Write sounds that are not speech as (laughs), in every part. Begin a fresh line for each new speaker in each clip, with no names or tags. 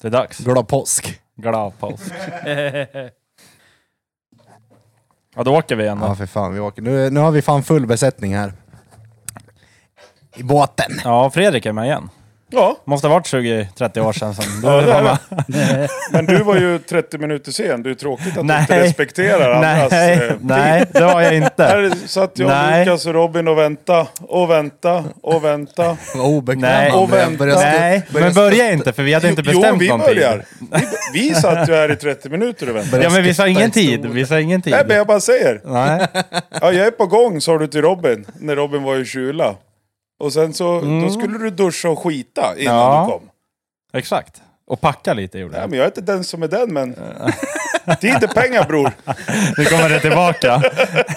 Det är dags.
Glad påsk.
Glad påsk. (laughs) ja, då åker vi igen
Ja
då.
för fan, vi åker. Nu, nu har vi fan full besättning här. I båten.
Ja, Fredrik är med igen.
Ja,
Måste ha varit 20-30 år sedan.
(laughs)
Som du
Ja, det
var
är
med.
men du var ju 30 minuter sen. Det är ju tråkigt att du
Nej.
inte respekterar andras... eh,
Nej, nej, det var jag inte.
Här satt jag,
Nej.
Lukas och Robin och vänta och vänta och vänta.
Vad obekväm
Nej.
man
Och
blev.
vänta.
Börjar stå-
Nej,
börjar
men
stå-
börja inte för vi hade inte
jo,
bestämt
vi
någon tid.
börjar. Vi, vi satt ju här i 30 minuter och väntade.
Ja, men vi sa
Skutta
ingen
i
tid.
stolen.
Vi sa ingen tid.
Nej, men jag bara säger.
Nej.
Ja, jag är på gång, sa du till Robin, när Robin var i kyla. Och sen så, då skulle du duscha och skita innan
Mm. Ja.
du kom.
Exakt. Och packa lite gjorde
Nej,
jag.
men jag är inte den som är
(laughs)
den, men... Tid är pengar, bror.
Nu kommer det tillbaka.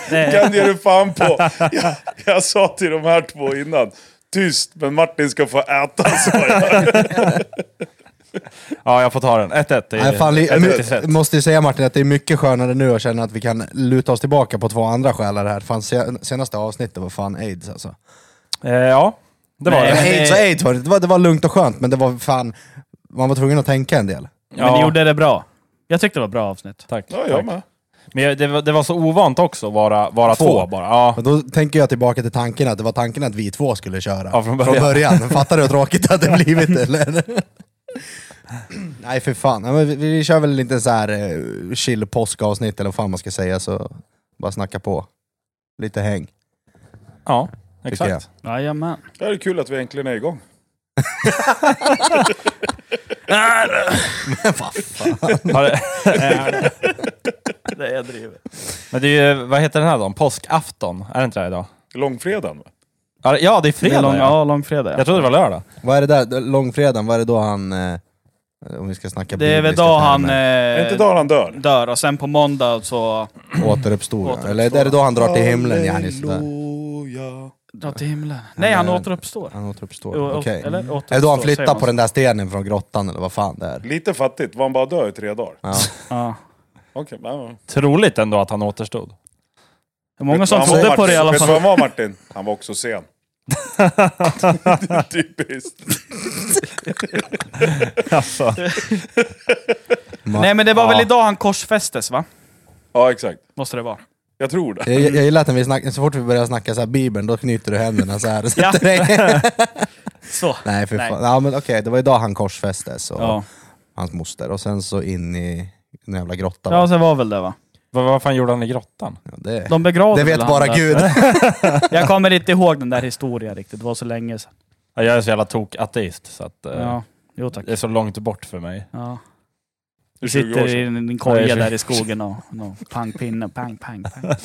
kan ge du fan på. Jag, jag sa till de här två innan. Tyst, men Martin ska få äta, sa jag.
Ja, jag får ta den. 1-1. i-
Nej, fan, li-
ett- ett- ett-
jag måste ju säga Martin att det är mycket skönare nu att känna att vi kan luta oss tillbaka på två andra själar här. Fan, se- senaste avsnittet var fan aids alltså.
Eh, Ja, det var
Nej,
det.
men
Eller
det-
aids och aids var det. Det var, det var lugnt och skönt, men det var fan... Man var tvungen att tänka en del.
Men
Ja.
ni gjorde det bra. Jag tyckte det var bra avsnitt.
Tack.
Ja,
tack.
jag med.
Men jag- det var, det var så ovant också att vara, vara
Två.
två. bara. Ja.
Och då tänker jag tillbaka till tanken att det var tanken att vi två skulle köra.
Ja, från början.
Fattar du hur tråkigt det
(laughs)
hade blivit eller? Nej för fan. Ja, men vi, vi kör väl lite så här eh, chill påskavsnitt eller vad fan man ska säga så bara snacka på. Lite häng.
ja,
Tycker (laughs)
exakt.
Jajamän.
Ja, Det är kul att vi äntligen är igång.
Men (laughs) vad fan.
Har det- (laughs)
Det är jag driver.
Men det är ju, vad heter den här dagen? Påskafton? Är det inte det idag?
Långfredagen. va?
Ja, det- Ja, det är
Det
fredag.
är lång,
ja.
ja, långfredag.
Jag trodde det var lördag.
Vad är det där? Långfredagen, vad är det då han... Eh, om vi ska snacka
Det är väl
bibliska
då han
termer,
Är inte
eh,
dagen han dör?
dör och sen på måndag så
Återuppstod.
Återuppstod.
Eller är det då han drar till himlen? Ja, han är sådär.
Halleluja.
drar till himlen. Nej, han återuppstår.
Han återuppstår.
Å- å-
Okej.
eller
Är det då han
återuppstår, säger
flyttar
man
på
så.
den där stenen från grottan eller vad fan det är?
Lite fattigt, var han bara död i tre dagar?
Ja.
Ja.
Okej, men... ja.
Troligt ändå att han återstod.
Det är många
Vet du
som
vad han var,
trodde på det
Martin?
i alla
Vet du vad han
fall.
var Martin? Han var också sen. (laughs) Typiskt.
Alltså. (laughs)
Nej, men det var väl
Ja.
idag han korsfästes, va?
Ja, exakt.
Måste det vara.
Jag tror det.
Jag, jag gillar att när vi snackar, så fort vi börjar snacka så här Bibeln, då knyter du händerna så här och
Ja.
sätter dig.
(laughs) Så.
Nej för
Nej.
fan. Ja, men okej, det var idag han korsfästes och
Ja,
hans moster. Och sen så in i en jävla grotta.
ja
va?
så var väl det, va?
Vad, vad fan gjorde han i grottan?
Ja, det,
De begravde
det vet
väl
bara
han där. (laughs)
Gud.
Jag kommer inte ihåg den där historien riktigt, det var så länge sedan.
Ja, Jag är så jävla tok-ateist så att, eh,
Ja, jo tack.
det är så långt bort för mig.
Ja.
Det är
Du
20 år
sitter
sedan.
i en en koja
Nej,
där i skogen och, och pang pinne, pang, pang, pang.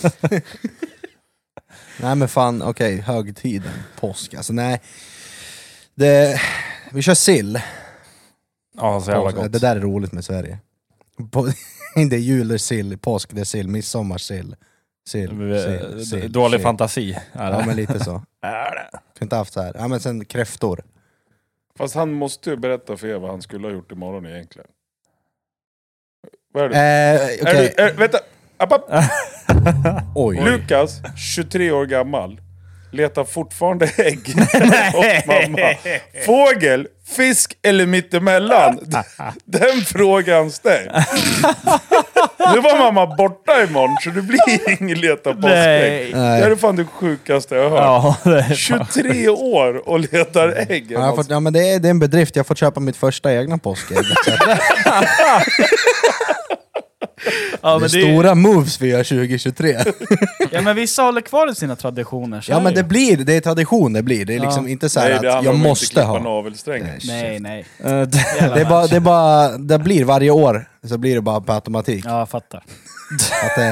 nej men fan, okej, högtiden, påsk. Alltså nej. Det, vi kör sill.
Ja, så jävla
Påsk. Det
gott.
där är roligt med Sverige. På, (laughs) det är jul, det är sill, påsk, det är sill, midsommar, sill. Sill,
Eh,
sill, sill,
Dålig
sill.
fantasi är det.
Ja men lite så.
Är det.
Kunde inte haft så här. Ja men sen kräftor.
Fast han måste ju berätta för er vad han skulle ha gjort imorgon egentligen. Vad är det?
Eh,
Är
okej.
du, är, vänta! App, app.
Oj.
Lukas, 23 år gammal, letar fortfarande ägg åt mamma. Fågel, fisk eller mittemellan? D- Den frågan ställs. Nu var mamma borta imorgon så det blir ingen leta påskägg.
Nej.
Det här är fan det sjukaste jag har hört.
(laughs) Ja, det är
23 år och letar ägg.
Ja, jag har fått, ja, men det, är, det är en bedrift, jag har fått köpa mitt första egna
(laughs)
påskägg. Så att
Ja,
det är
men det,
stora moves vi gör 2023.
ja, men vissa håller kvar sina traditioner. Så
Ja
är
men
ju.
det blir, det är tradition det blir. Det är liksom
Ja.
inte så här
Nej, det
att
handlar
jag
om att inte
måste
klippa
ha.
navelsträngen.
Nej, nej.
Eh, det-
Det, är bara, det, är bara, det blir varje år, så blir det bara på automatik.
Ja, jag fattar.
Att, eh,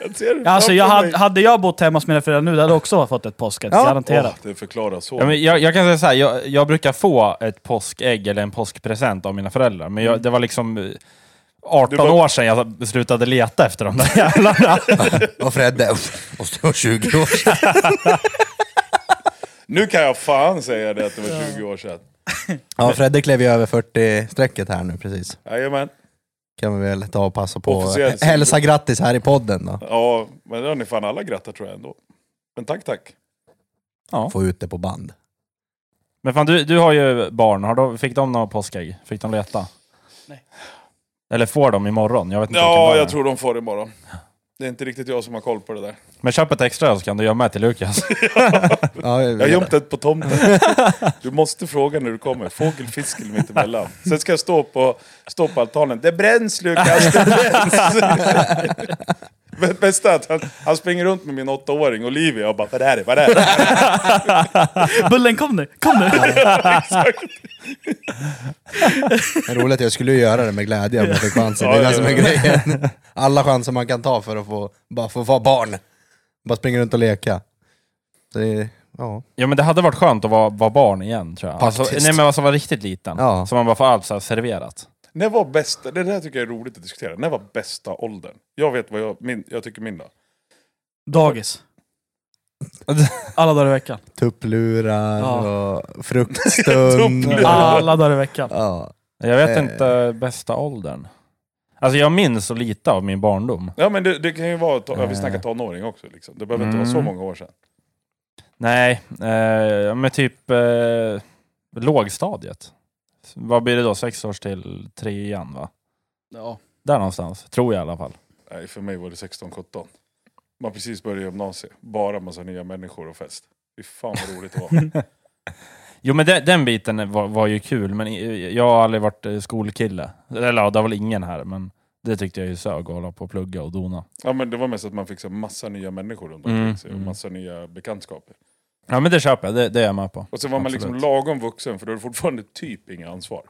Jag ser det
Ja, Alltså,
framför
jag
mig.
hade, hade jag bott hemma hos mina föräldrar nu, då hade jag också fått ett påskägg.
Ja.
Garanterat.
Åh, det förklarar så.
Ja, men jag, jag kan säga så här, jag, jag brukar få ett påskägg eller en påskpresent av mina föräldrar, men jag, det var liksom eh, 18
Du var-
år sedan jag slutade leta efter de där jävlarna. (laughs)
och Fredde, uff, måste vara 20 år sedan.
Nu kan jag fan säga det att det var 20 år sedan.
Ja Fredde klev ju över 40-strecket här nu precis.
Jajamän.
Kan vi väl ta och passa på
Officiellt.
att hälsa grattis här i podden då.
Ja, men det har ni fan alla grattat tror jag ändå. Men tack, tack.
Ja.
Få ut det på band.
Men fan, du, du har ju barn. Har de, fick de några påskägg? Fick de leta?
Nej.
Eller får de imorgon? Jag vet inte vilken dag
Ja,
det
jag
är.
tror de får det imorgon. Det är inte riktigt jag som har koll på det där.
Men köp ett extra så kan du gömma ett till Lukas. (laughs)
Ja, jag
Jag har
vet.
gömt ett på tomten. Du måste fråga när du kommer. Fågelfiskel mitt emellan. Sen ska jag stå på, stå på altanen. Det bränns Lukas, det bränns! Men bästa är att han, han springer runt med min åttaåring Olivia och bara Vad är det? Vad är det?
Bullen kom nu, kom nu!
Men roligt att jag skulle ju göra det med glädje om jag fick chansen. Det är
Ja,
det som är
ja,
grejen. Alla chanser man kan ta för att få, bara få vara barn. Bara springa runt och leka. Så Det är, ja.
ja men det hade varit skönt att vara, vara barn igen tror jag. Alltså,
Faktiskt.
nej men alltså vara riktigt liten.
Ja.
Så man bara får allt så här serverat.
När var bästa, det där tycker jag är roligt att diskutera. När var bästa åldern? Jag vet vad jag, min, jag tycker min då.
(laughs)
Dagis. Alla dagar i veckan.
Tupplurar
Ja.
och fruktstund.
Tupplurar.
Alla dagar i veckan.
ja.
Jag vet
Eh.
inte bästa åldern. Alltså jag minns så lite av min barndom.
Ja men det, det kan ju vara, to- ja, vi snackar tonåring också liksom. Det behöver inte vara så
Eh. Mm.
många år sedan.
Nej, eh, men typ eh, lågstadiet. Vad blir det då? Sex års till trean va?
Ja.
Där någonstans, tror jag i alla
(laughs)
fall.
Nej, för mig var det 16-17. Man precis började gymnasiet. Bara massa nya människor och fest. Fy fan vad roligt det
(laughs)
var.
Jo men de, den biten var, var ju kul, men i- jag har aldrig varit eh, skolkille. Eller ja, det var väl ingen här, men det tyckte jag ju sög att hålla på och plugga och dona.
Ja, men det var mest att man fick så massa nya människor runt omkring
Mm,
sig och
mm.
massa nya bekantskaper.
Ja men det köper jag, det, det är jag med på.
Och sen var man liksom
Absolut.
lagom vuxen för då är det fortfarande typ inga ansvar.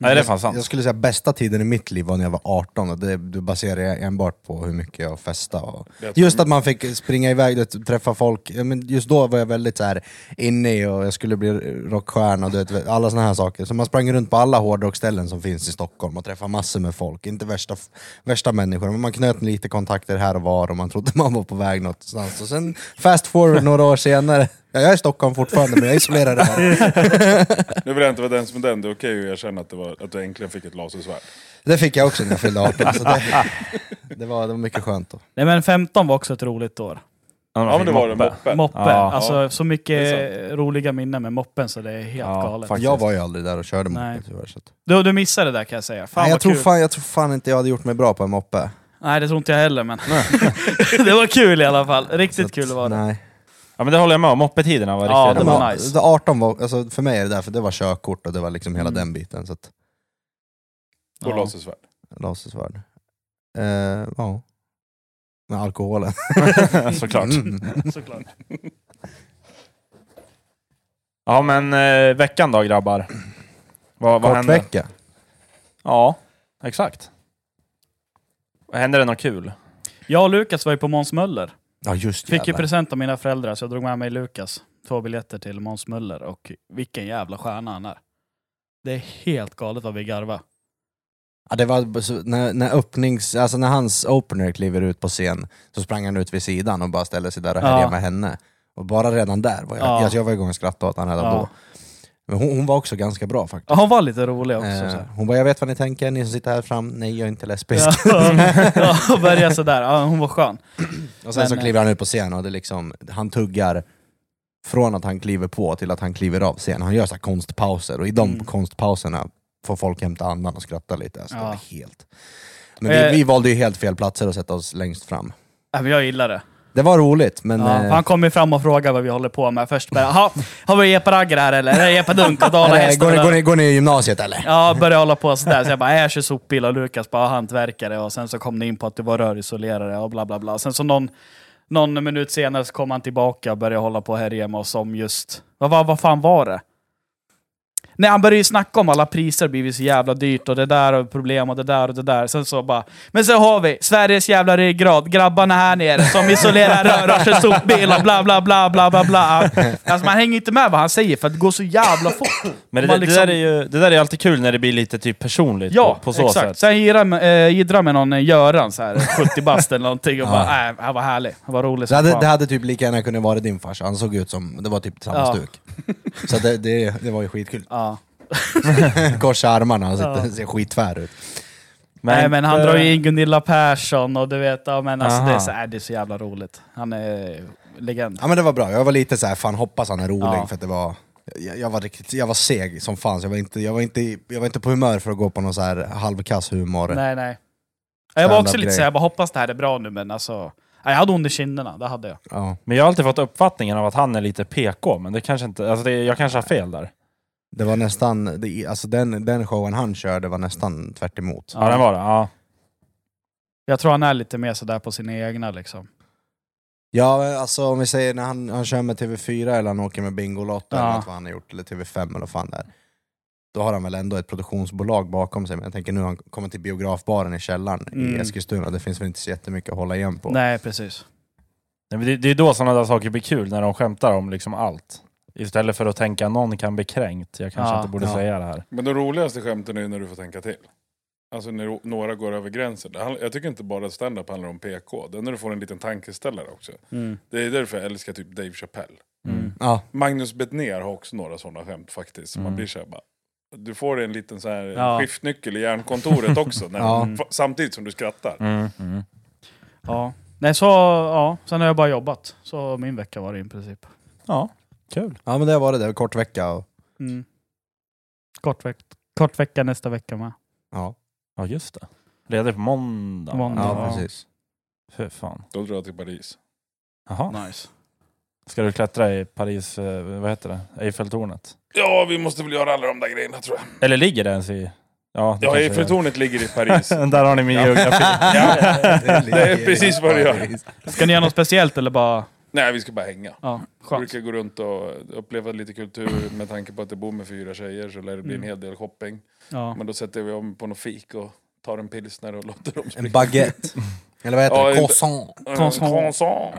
Nej det är fan
Jag
sant.
skulle säga bästa tiden i mitt liv var när jag var 18 och det, det baserar jag enbart på hur mycket jag festade. Och
Det tror
just att man fick springa iväg du vet, träffa folk. Ja, men Just då var jag väldigt så här inne i och jag skulle bli rockstjärna och du vet, alla såna här saker. Så man sprang runt på alla hårdrockställen som finns i Stockholm och träffade massor med folk. Inte värsta, värsta människor, men man knöt lite kontakter här och var och man trodde man var på väg någonstans. Och sen fast forward några år senare, ja, jag är i Stockholm fortfarande men jag isolerar det här.
Nu vill jag inte vara den som är den, det är okej att erkänna att, det var, att du äntligen fick ett lasersvärd.
Det fick jag också när jag fyllde
(laughs)
18, så det, det, var, det var mycket skönt. Då.
Nej men 15 var också ett roligt år.
Ja men det var det, moppe.
Moppe.
Ja.
alltså
Ja.
så
Det
mycket
är
roliga minnen med moppen så det är helt
Ja,
galet.
faktiskt.
Jag var ju aldrig där och körde
Nej.
moppe tyvärr. Så att...
Du, du missade det där kan jag säga. Fan
Nej,
vad
jag, tror
kul.
fan, jag tror fan inte jag hade gjort mig bra på en moppe.
Nej det tror inte jag heller men. (laughs) det var kul i alla fall.
Så
Riktigt
att,
kul var det.
Nej.
Ja men det håller jag med om, moppetiderna var
Ja,
riktigt
det
Det
bra.
var
var,
nice.
det 18 var, alltså, för mig är det därför det var körkort och det var liksom hela
Mm.
den biten. Så att,
Och
Ja.
lasersvärd.
lasersvärd. Eh, ja. Med alkoholen.
Såklart.
Mm.
Såklart.
Ja men eh, veckan då grabbar? Vad, vad
Kort
hände?
vecka.
Ja, exakt. Hände det något kul?
Jag och Lukas var ju på Måns Möller.
Ja just
Fick ju
jävlar.
present av mina föräldrar så jag drog med mig Lukas. Två biljetter till Måns Möller och vilken jävla stjärna han är. Det är helt galet vad vi garva.
Ja, det var så- när, när, öppnings, alltså när hans opener kliver ut på scen så sprang han ut vid sidan och bara ställde sig där och
Ja.
härjade med henne. Och bara redan där var jag,
Ja.
alltså, jag var igång och skrattade åt honom redan
Ja.
då. Men hon, hon var också ganska bra faktiskt.
Ja, han var lite rolig också. så
Eh,
här.
hon bara, jag vet vad ni tänker, ni som sitter här fram, nej jag är inte lesbisk.
Ja,
(laughs)
ja, börja sådär. Ja, hon var skön.
Och sen så
Men, eh,
kliver han ut på scen och det är liksom, han tuggar från att han kliver på till att han kliver av scen. Han gör så här konstpauser och i de
Mm.
konstpauserna får folk hämta andan och skratta lite. Alltså, det
Ja.
var helt... Men vi,
Eh.
vi valde ju helt fel platser att sätta oss längst fram.
Ja, men jag gillar det.
Det var roligt, men...
Ja,
eh,
han kom ju fram och frågade vad vi håller på med. Först bara, "Jaha, har vi epa-raggar här eller? Är det epa-dunk och
är det, går, ni, går,
dalahästar?
ni, går ni i gymnasiet eller?
Ja, började hålla på sådär. Så jag bara, "Nej, jag kör sopbil och Lukas bara, "Ja, hantverkare. Och sen så kom det in på att du var rörisolerare och bla bla bla. Sen så någon, någon minut senare så kom han tillbaka och började hålla på här hemma oss om just, vad, vad, vad fan var det? Nej, han började ju snacka om alla priser har blivit så jävla dyrt och det där och problem och det där och det där. Sen så bara, men så har vi Sveriges jävla ryggrad, grabbarna här nere som isolerar rör och kör sopbilar, bla bla bla bla bla bla. Alltså man hänger inte med vad han säger för att det går så jävla fort.
Men det, det,
Man liksom-
där är ju, det där är alltid kul när det blir lite typ personligt
Ja,
på, på så
exakt.
sätt.
Sen jiddrar med, eh, jiddrar med någon eh, Göran,
(laughs)
så här, 70 bast eller någonting, och bara äh, han var härlig, han var rolig
Det
som
hade,
fan.
det hade typ lika gärna kunnat vara din farsa, han såg ut som, det var typ samma
Ja. (laughs)
stuk. Så det, det, det var ju skitkul.
Ja.
Korsa armarna och sitter, ser skittvär ut.
Nej men han
eh,
drar ju in Gunilla Persson och du vet, ja, men alltså,
Aha.
det, är så, äh, det är så jävla roligt. Han är legend.
Ja men det var bra, jag var lite så här, fan hoppas han är rolig
Ja.
för att det var... Jag, jag, var riktigt, jag var seg som fan, så jag var, inte, jag, var inte, jag var inte på humör för att gå på någon så här halvkass humor.
Nej, nej. Ja, Jag var också lite
Standardgrej.
såhär, jag bara hoppas det här är bra nu, men alltså... Ja, Jag hade ont i kinderna, det hade jag.
Ja.
Men jag har alltid fått uppfattningen av att han är lite PK, men det kanske inte... Alltså det, jag kanske har fel där.
Det var nästan, det, alltså den, den showen han körde var nästan tvärt emot.
Ja, den var det. Ja.
Jag tror han är lite mer sådär på sina egna liksom.
Ja, alltså om vi säger när han, han kör med TV4 eller han åker med Bingolotto
Ja.
eller något vad han har gjort, eller TV5 eller vad fan det är. Då har han väl ändå ett produktionsbolag bakom sig, men jag tänker nu har han kommer till biografbaren i källaren
Mm.
i Eskilstuna, det finns väl inte så jättemycket att hålla igen på.
Nej, precis.
Nej, men Det, det är då sådana där saker blir kul, när de skämtar om liksom allt. Istället för att tänka någon kan bli kränkt. Jag kanske
Ja,
inte borde
ja.
säga det här.
Men de roligaste skämten är ju när du får tänka till. Alltså när o- några går över gränsen. Det handlar- Jag tycker inte bara att stand-up handlar om PK. Det är när du får en liten tankeställare också.
Mm.
Det är därför jag älskar typ Dave Chappelle.
Mm.
Ja,
Magnus Bettner har också några sådana skämt faktiskt. Så Man blir så här bara, du får en liten så här
Ja.
skiftnyckel i hjärnkontoret också. När,
Ja.
fa- Samtidigt som du skrattar.
Mm. Mm.
Mm. Ja. Nej, så, ja. Sen har jag bara jobbat. Så min vecka var det i princip.
Ja, kul.
ja men det var det, det var kort vecka. Och,
Mm. Kort, veck kort vecka nästa vecka med.
ja.
Ja, just det. Ledig på måndag. va?
Måndag,
ja,
Ja.
precis.
Fy fan.
Då drar jag till Paris.
Jaha.
Nice.
Ska du klättra i Paris, eh, vad heter det? Eiffeltornet?
Ja, vi måste väl göra alla de där grejerna tror jag.
Eller ligger det ens i... Ja, det
Ja,
kanske
Eiffeltornet ligger i Paris.
gör. (laughs) Där har ni min
(laughs)
(laughs)
geografi.
det är precis vad du gör.
Ska ni göra något speciellt eller bara...
Nej, vi ska bara hänga.
Ja,
Jag
skönt.
brukar gå runt och uppleva lite kultur med tanke på att jag bor med fyra tjejer så lär det bli en hel del shopping.
Ja.
Men då sätter vi om på något fik och tar en pilsner och låter dem
En
springa.
baguette. Eller vad heter
Ja,
det?
inte-
Croissant.
croissant.
Croissant.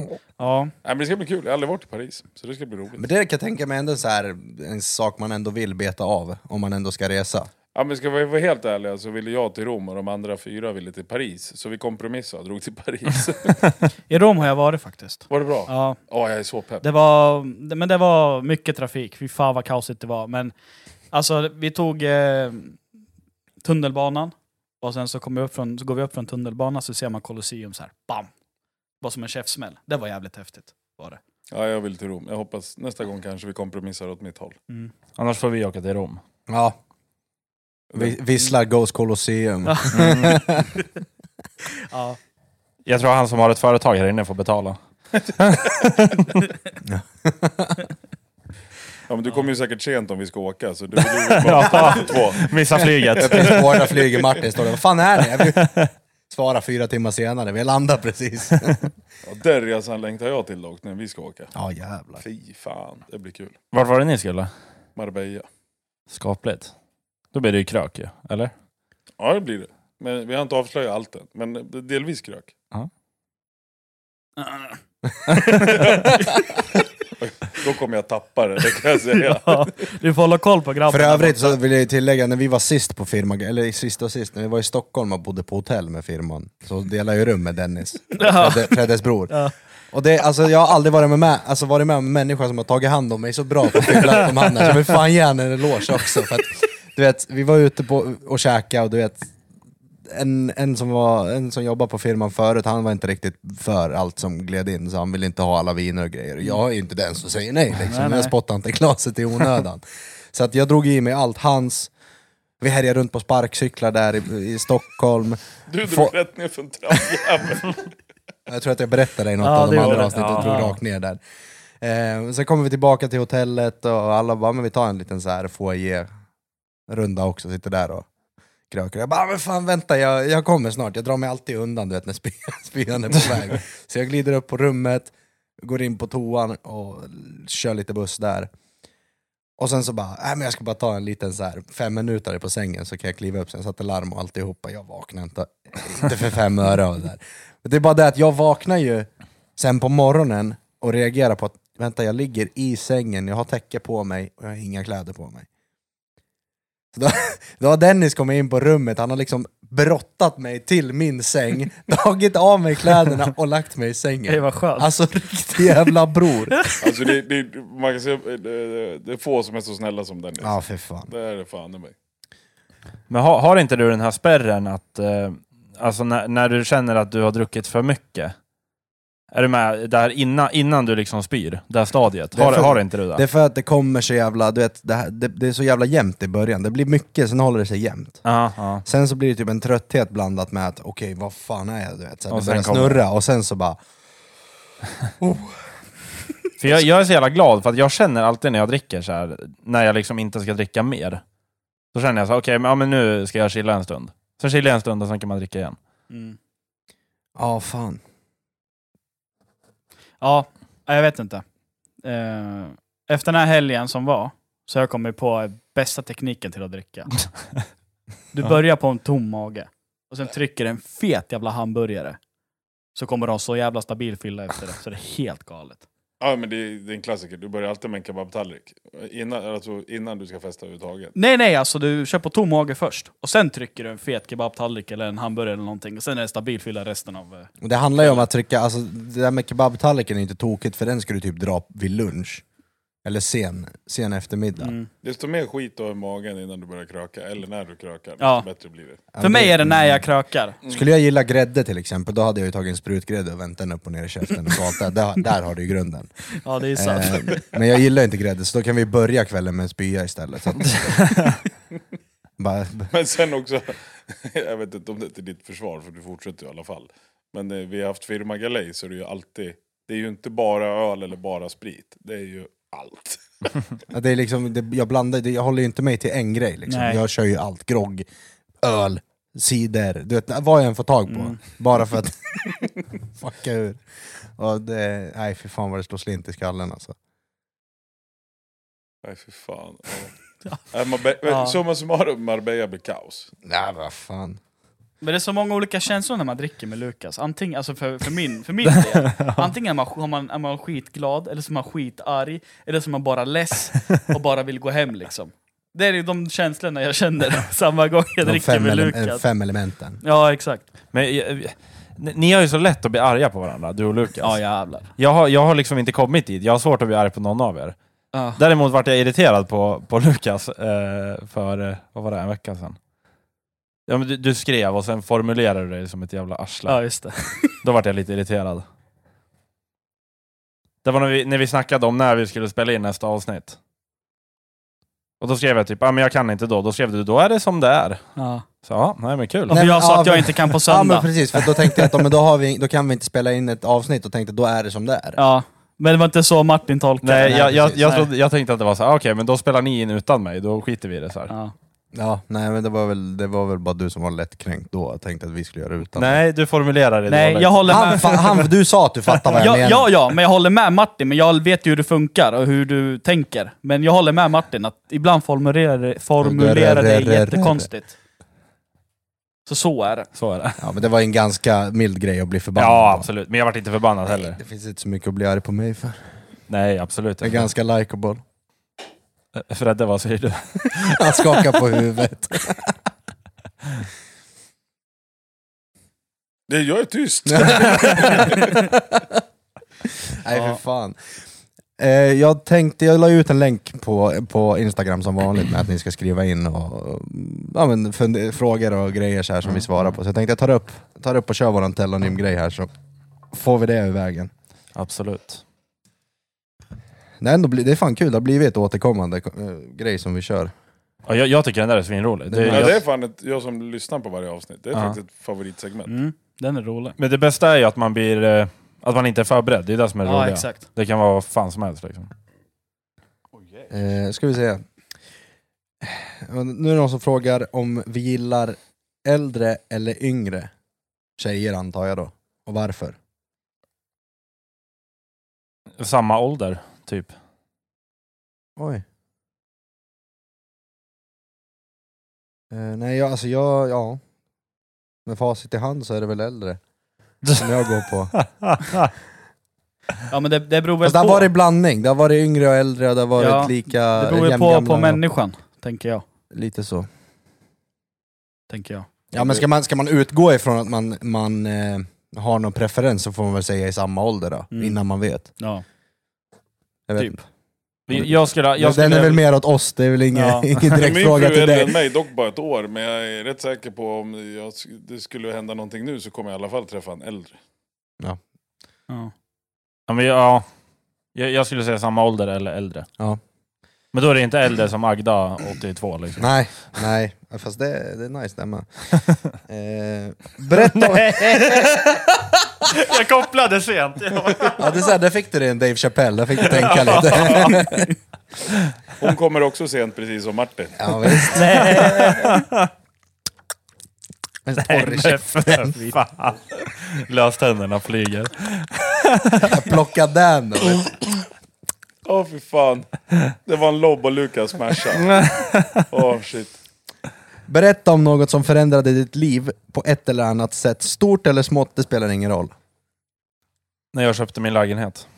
Nej,
ja.
men det ska bli kul, jag har aldrig varit i Paris. Så det ska bli roligt.
Men det kan jag tänka mig ändå så här, en sak man ändå vill beta av om man ändå ska resa.
Ja, men ska vi vara helt ärliga så ville jag till Rom och de andra fyra ville till Paris. Så vi kompromissade och drog till Paris.
(laughs)
I Rom har jag varit faktiskt.
Var det bra? Ja,
Ja,
jag är så pepp.
det var, det- men det var mycket trafik. Fy fan vad kaosigt det var. Men alltså, vi tog eh, tunnelbanan och sen så, kom vi upp från, så går vi upp från tunnelbanan så ser man Colosseum så här. Bam! Var som en käftsmäll. Det var jävligt häftigt. Var det.
Ja, jag vill till Rom. Jag hoppas nästa gång kanske vi kompromissar åt mitt håll.
Mm.
Annars får vi åka till Rom.
Ja. Vi, visslar Ghost Colosseum.
Ja.
Mm.
(laughs) Ja. (laughs)
Jag tror han som har ett företag här inne får betala.
Ja, men du kommer ju säkert sent om vi ska åka, så du du vill ju bara ta (laughs) två.
Missa
(laughs)
flyget.
Båda flyger Martin står där, vad fan är det? Jag vill svara fyra timmar senare, vi landar
(laughs)
precis.
Ja, den resan längtar jag till dock, när vi ska åka.
Ja jävlar.
Fy fan, det blir kul.
Vart var det ni skulle?
Marbella.
Skapligt. Då blir det ju krök ju, eller?
Ja, det blir det. Men vi har inte avslöjat allt än, men det- delvis krök. Då kommer jag tappa det, det kan jag
(laughs)
säga.
Ja, du får hålla koll på grabben.
För övrigt så vill jag ju tillägga, när vi var sist på firman, eller sist och sist, när vi var i Stockholm och bodde på hotell med firman, så delade jag ju rum med
(laughs)
Dennis,
Ja.
Fredde, Freddes bror.
Ja.
Och det, alltså, jag har aldrig varit med, med, alltså, varit med om en människa som har tagit hand om mig så bra på fyllan som han är, så jag vill fan ge honom en eloge också. För att, du vet, vi var ute på, och käkade och du vet, en, en, som var, en som jobbade på firman förut, han var inte riktigt för allt som gled in, så han ville inte ha alla viner och grejer. Jag är ju inte den som säger nej, liksom.
nej.
jag spottar inte i glaset i onödan. så att jag drog i mig allt hans, vi härjade runt på sparkcyklar där i, i Stockholm.
Du drog
Få-
rätt ner för en trappjävel.
Jag tror att jag berättade i något
Ja,
av de
det
andra
gjorde
avsnitten,
du.
jag
Ja.
drog rakt ner där. Eh, sen kommer vi tillbaka till hotellet och alla bara, men vi tar en liten så här foyer-runda också, sitter där och krökar. Jag bara, men fan vänta, jag, jag kommer snart. Jag drar mig alltid undan du vet när spy- (laughs) spyan är på väg.
(laughs)
Så jag glider upp på rummet, går in på toan och kör lite buss där. Och sen så bara, äh, men jag ska bara ta en liten så här fem minuter på sängen så kan jag kliva upp. Sen satte larm och alltihopa, jag vaknar inte, inte för fem öre av det där. Men det är bara det att jag vaknar ju sen på morgonen och reagerar på att vänta, jag ligger i sängen, jag har täcke på mig och jag har inga kläder på mig. Så då, (laughs) då har Dennis kommit in på rummet, han har liksom brottat mig till min säng, (laughs) tagit av mig kläderna och lagt mig i
Det
sängen.
var skönt.
Alltså (laughs) riktig jävla bror.
Alltså, det, det, man kan säga, det, det är få som är så snälla som Dennis.
Ja, för fan.
Det är det fan i mig.
Men har, har inte du den här spärren att... Eh, alltså när, när du känner att du har druckit för mycket. Är du med? Där innan, innan du liksom spyr, det här stadiet.
Det är
Har,
för-
har inte du det?
Det är för att det kommer så jävla, du vet, det, här, det, det är så jävla jämnt i början. Det blir mycket, sen håller det sig jämnt.
Ja, ja.
Sen så blir det typ en trötthet blandat med att okej, vad fan är jag? Du vet, så här,
Och
det
sen
börjar
kommer-
snurra och sen så bara...
För jag, jag är så jävla glad, för att jag känner alltid när jag dricker så här, när jag liksom inte ska dricka mer. Då känner jag så här, okej, men, ja, men nu ska jag chilla en stund. Sen chillar jag en stund och sen kan man dricka igen.
Mm.
Ja, fan.
Ja, nej, jag vet inte. Eh, efter den här helgen som var så har jag kommit på bästa tekniken till
(laughs)
att dricka. Du
Ja.
börjar på en tom mage och sen trycker en fet jävla hamburgare. Så kommer de så jävla stabil fylla efter det, så det är helt galet.
Ja, men det är, det är en klassiker. Du börjar alltid med en kebabtallrik. Innan, alltså, innan du ska festa överhuvudtaget.
Nej, nej, alltså du kör på tom mage först. Och sen trycker du en fet kebabtallrik eller en hamburgare eller någonting. Och sen är det stabil fylla resten av... eh,
Och Det handlar ju om att trycka, alltså det där med kebabtallriken är inte tokigt för den ska du typ dra vid lunch. Eller sen, sen eftermiddag.
Mm.
Desto mer skit du har i magen innan du börjar kröka, eller när du krökar, desto
Ja.
bättre blir det.
Ja,
För
det- Mm.
mig är det när jag krökar.
Skulle jag gilla grädde till exempel, då hade jag ju tagit en sprutgrädde och vänt den upp och ner i käften och galat. där, där, där har du ju grunden.
Ja, det är sant.
Eh, men jag gillar inte grädde, så då kan vi börja kvällen med en spya istället. Så att,
(laughs)
bara,
Men sen också, (laughs) jag vet inte om det är till ditt försvar, för du fortsätter ju i alla fall. Men eh, vi har haft firmagalej, så det är ju alltid... Det är ju inte bara öl eller bara sprit. Det är ju allt.
att det är liksom, det, jag, blandar, det, jag håller ju inte mig till en grej. Liksom.
Nej.
Jag kör ju allt, grogg, öl, cider, du vet, vad jag än får tag på.
Mm.
Bara för att (laughs) fucka ur. Och det, nej, för fan vad det slår slint i skallen alltså.
Nej, för fan.
(laughs)
Ja. Nej, Marbe-
Ja.
Summa summarum, Marbella blir kaos.
Nej, vad fan.
Men det är så många olika känslor när man dricker med Lukas. Antingen, alltså för, för min, för min del, antingen är man, har man, är man skitglad, eller så är man skitarg, eller så är man bara less (laughs) och bara vill gå hem liksom. Det är ju de känslorna jag känner samma gång jag
De
dricker
fem,
med
ele- eh,
Lukas.
fem elementen.
Ja, exakt.
Men eh, ni, ni har ju så lätt att bli arga på varandra, du och Lukas.
Ja, jävlar.
Jag, har, jag har liksom inte kommit dit, jag har svårt att bli arg på någon av er.
Ja.
Däremot vart jag irriterad på, på Lukas eh, för, eh, vad var det, en vecka sedan? Ja, men du, du skrev och sen formulerade du dig som ett jävla arsle.
Ja, just det.
Då vart jag lite irriterad. Det var när vi, när vi snackade om när vi skulle spela in nästa avsnitt. Och då skrev jag typ, ah, men jag kan inte då. Då skrev du, då är det som det är.
Ja.
Så ja, nej men kul.
Och för
Nej,
jag
ja,
sa att jag
men-
inte kan på
Ja
söndag.
men precis, för då tänkte jag att ja, men då, har vi, då kan vi inte spela in ett avsnitt och tänkte då är det som det är.
Ja, men det var inte så Martin tolkade
Nej,
det.
jag, jag,
precis.
jag,
Nej.
trodde, jag tänkte att det var så här, ah, okej men då spelar ni in utan mig, då skiter vi i det så här.
Ja.
Ja, nej men det var, väl, det var väl bara du som var lättkränkt då och tänkte att vi skulle göra det utan.
Nej, du formulerar det
Nej,
dåligt.
jag håller
Han,
med.
fa- han, du sa att du fattar
(laughs)
vad jag
Ja,
menar.
ja, ja, men jag håller med Martin, men jag vet ju hur det funkar och hur du tänker. Men jag håller med Martin att ibland formulerar, det- formulerar det jättekonstigt. Så så är det.
Så är det.
ja, men det var en ganska mild grej att bli förbannad
Ja,
på.
absolut. Men jag vart inte förbannad heller.
Det finns inte så mycket att bli arg på mig för.
Nej, absolut
Jag är
inte.
ganska likeable.
Fredde, vad säger du?
Han skakar på huvudet.
Det, jag är
(laughs)
tyst.
Nej för fan. Eh, jag tänkte, jag la ut en länk på, på Instagram som vanligt med att ni ska skriva in och, ja, men, funde- frågor och grejer så här som vi svarar på. Så jag tänkte jag tar upp, tar upp och kör våran telonym-grej här så får vi det ur vägen.
Absolut.
Det är, ändå, bli- det är fan kul, det har blivit ett återkommande eh, grej som vi kör.
Ja, jag, jag tycker den där är svinrolig. Det,
Ja,
Ja,
jag,
det är fan ett, jag som lyssnar på varje avsnitt. Det är
Ja.
faktiskt ett favoritsegment.
Mm, den är rolig.
Men det bästa är ju att man blir... eh, Att man inte är förberedd, det är det som är det
Ja,
roliga.
exakt.
Det kan vara vad fan som helst liksom.
Eh, ska vi se. Och Nu är det någon som frågar om vi gillar äldre eller yngre tjejer antar jag då. Och varför?
Samma ålder,
(laughs)
typ.
Oj. Eh, nej, jag, alltså jag, ja. Med facit i hand så är det väl äldre. Som jag går
(laughs)
på.
Ja, men det, det beror väl
Fast det har
på,
varit blandning, det har varit yngre och äldre och det har varit
Ja,
lika
det beror väl på,
jämngamla
på
och-
människan, tänker jag.
Lite så.
Tänker jag.
Ja men ska man, ska man utgå ifrån att man, man eh, har någon preferens så får man väl säga i samma ålder då,
Mm.
innan man vet.
Ja.
Jag vet
Typ.
inte.
jag skulle...
Men
Jag skulle
Den är väl mer åt oss, det är väl ingen,
Ja.
(laughs) ingen direkt
Min
fråga
fru
till
är äldre än
dig.
mig, dock bara ett år. Men jag är rätt säker på om jag, det skulle hända någonting nu så kommer jag i alla fall träffa en äldre.
Ja.
Ja, men ja, jag, jag skulle säga samma ålder eller äldre.
Ja.
Men då är det inte äldre som Agda, 82 liksom.
Nej, nej. Fast det, det är nice det med. (laughs) Eh, berätta om...
Jag kopplade sent.
Ja, det är så här, där fick du din Dave Chappelle, där fick du tänka lite. (laughs)
Hon kommer också sent, precis som Martin.
Ja, visst. En torr
(laughs)
i käften.
Fan. Löständerna flyger.
Plocka den då. vet du.
Åh fy fan. Det var en lobb och Lukas
(laughs)
smasha. Åh shit.
Berätta om något som förändrade ditt liv på ett eller annat sätt. Stort eller smått, det spelar ingen roll.
När jag köpte min lägenhet.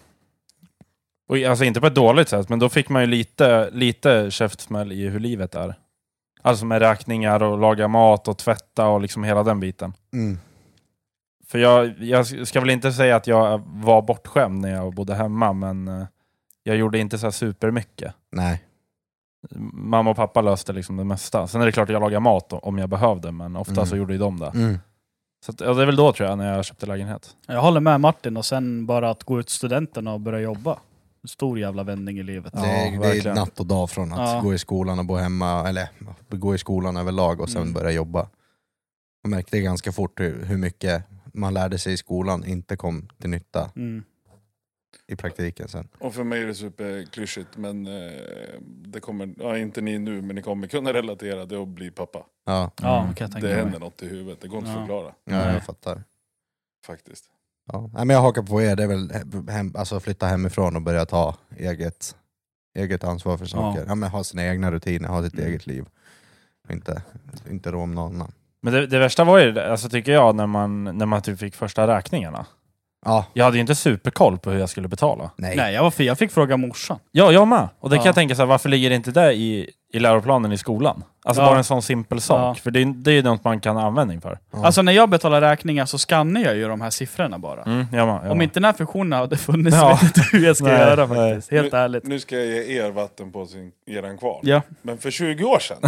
Och, alltså inte på ett dåligt sätt, men då fick man ju lite, lite käftsmäll i hur livet är. Alltså med räkningar och laga mat och tvätta och liksom hela den biten.
Mm.
För jag, jag ska väl inte säga att jag var bortskämd när jag bodde hemma, men eh, jag gjorde inte så här supermycket.
Nej.
Mamma och pappa löste liksom det mesta. Sen är det klart att jag lagade mat om jag behövde, men ofta
Mm.
så gjorde ju de det.
Mm.
Så att, ja, det är väl då tror jag, när jag köpte lägenhet.
Jag håller med Martin och sen bara att gå ut studenten och börja jobba. En stor jävla vändning i livet.
Det,
Ja,
är, det är
verkligen.
natt och dag från att
Ja.
gå i skolan och bo hemma, eller gå i skolan överlag och sen
Mm.
börja jobba. Man märkte ganska fort hur, hur mycket man lärde sig i skolan inte kom till nytta
Mm.
i praktiken sen.
Och för mig är det superklyschigt, men eh, det kommer, ja, inte ni nu, men ni kommer kunna relatera det och bli pappa.
Ja,
Ja, kan jag tänka
Det
mig.
händer något i huvudet, det går inte att
Ja.
förklara
ja
Nej.
jag fattar.
faktiskt.
Ja. Nej, men jag hakar på er, det är väl he- hem, alltså flytta hemifrån och börja ta eget, eget ansvar för saker. Ja.
Ja.
men ha sina egna rutiner, ha sitt
Mm.
eget liv. Och Inte, inte rå om någon annan.
Men det, det värsta var ju, alltså, tycker jag, när man, när man typ fick första räkningarna.
Ja,
Jag hade ju inte superkoll på hur jag skulle betala.
nej.
Nej, jag var fri. Jag fick fråga morsan.
Ja, jag med. Och det kan
Ja.
jag tänka så här, varför ligger inte det i, i läroplanen i skolan? Alltså
Ja.
bara en sån simpel sak.
Ja.
För det, är- det är ju något man kan ha användning för.
Ja.
Alltså när jag betalar räkningar så skannar jag ju de här siffrorna bara.
Mm, jag med, jag
Om
med.
inte den här funktionen hade funnits
Ja.
(laughs) vet jag inte hur jag ska
Nej,
göra
nej.
faktiskt. Helt ärligt.
Nu ska jag ge er vatten på sin, eran kvarn.
Ja.
Men för 20 år sedan,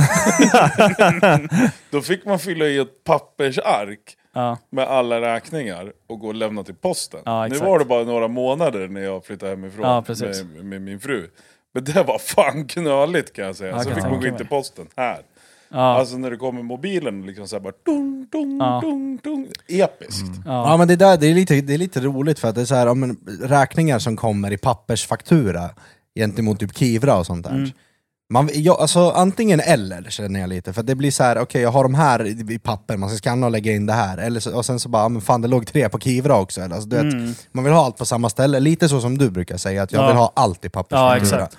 (laughs)
då fick man fylla i ett pappersark
Ja.
med alla räkningar och gå och lämna till posten.
Ja,
nu
exakt.
var det bara några månader när jag flyttade hemifrån
Ja, precis.
med, med min fru. Men det var fan knöligt kan jag säga.
Ja,
Så
kan
fick
jag
man gå
tänka
in till
mig.
posten här.
Ja.
Alltså när det kommer mobilen liksom så här bara dung, dung,
Ja. Mm.
dung, dung. Episkt.
Ja men det där det är, lite, det är lite roligt för att det är så här, ja, men räkningar som kommer i pappersfaktura gentemot typ Kivra och sånt där.
Mm.
Man, jag, alltså, antingen eller känner jag lite, för att det blir så här, okej jag har de här i i papper, man ska skanna och lägga in det här. Eller så, och sen så bara, ja, men fan det låg tre på Kivra också. Eller, alltså, du vet, man vill ha allt på samma ställe, lite så som du brukar säga, att jag
Mm. Ja.
vill ha allt i
Ja,
pappersfaktura.
exakt.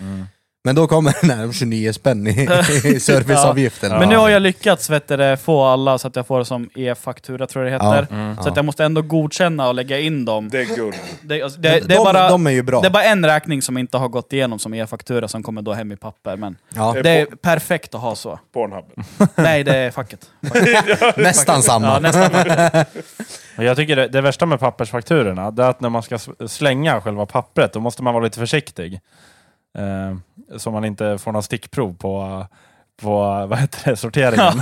Men då kommer den här 29 spänn i,
(laughs)
i serviceavgiften.
Men nu har jag lyckats vet du, det, få alla så att jag får det som e-faktura tror jag det heter. Så att jag måste ändå godkänna och lägga in dem.
Det är guld.
(laughs) Det, alltså, det, det,
de,
är bara,
de är ju bra.
det är bara en räkning som inte har gått igenom som e-faktura som kommer då hem i papper. Men
ja,
det är perfekt att ha så.
Pornhub.
Nej, det är facket.
nästan samma.
Ja, nästan.
Och Jag tycker det, det värsta med pappersfakturorna, det är att när man ska s- slänga själva pappret, då måste man vara lite försiktig. Eh, så man inte får några stickprov på, på (laughs) vad heter det, sorteringen.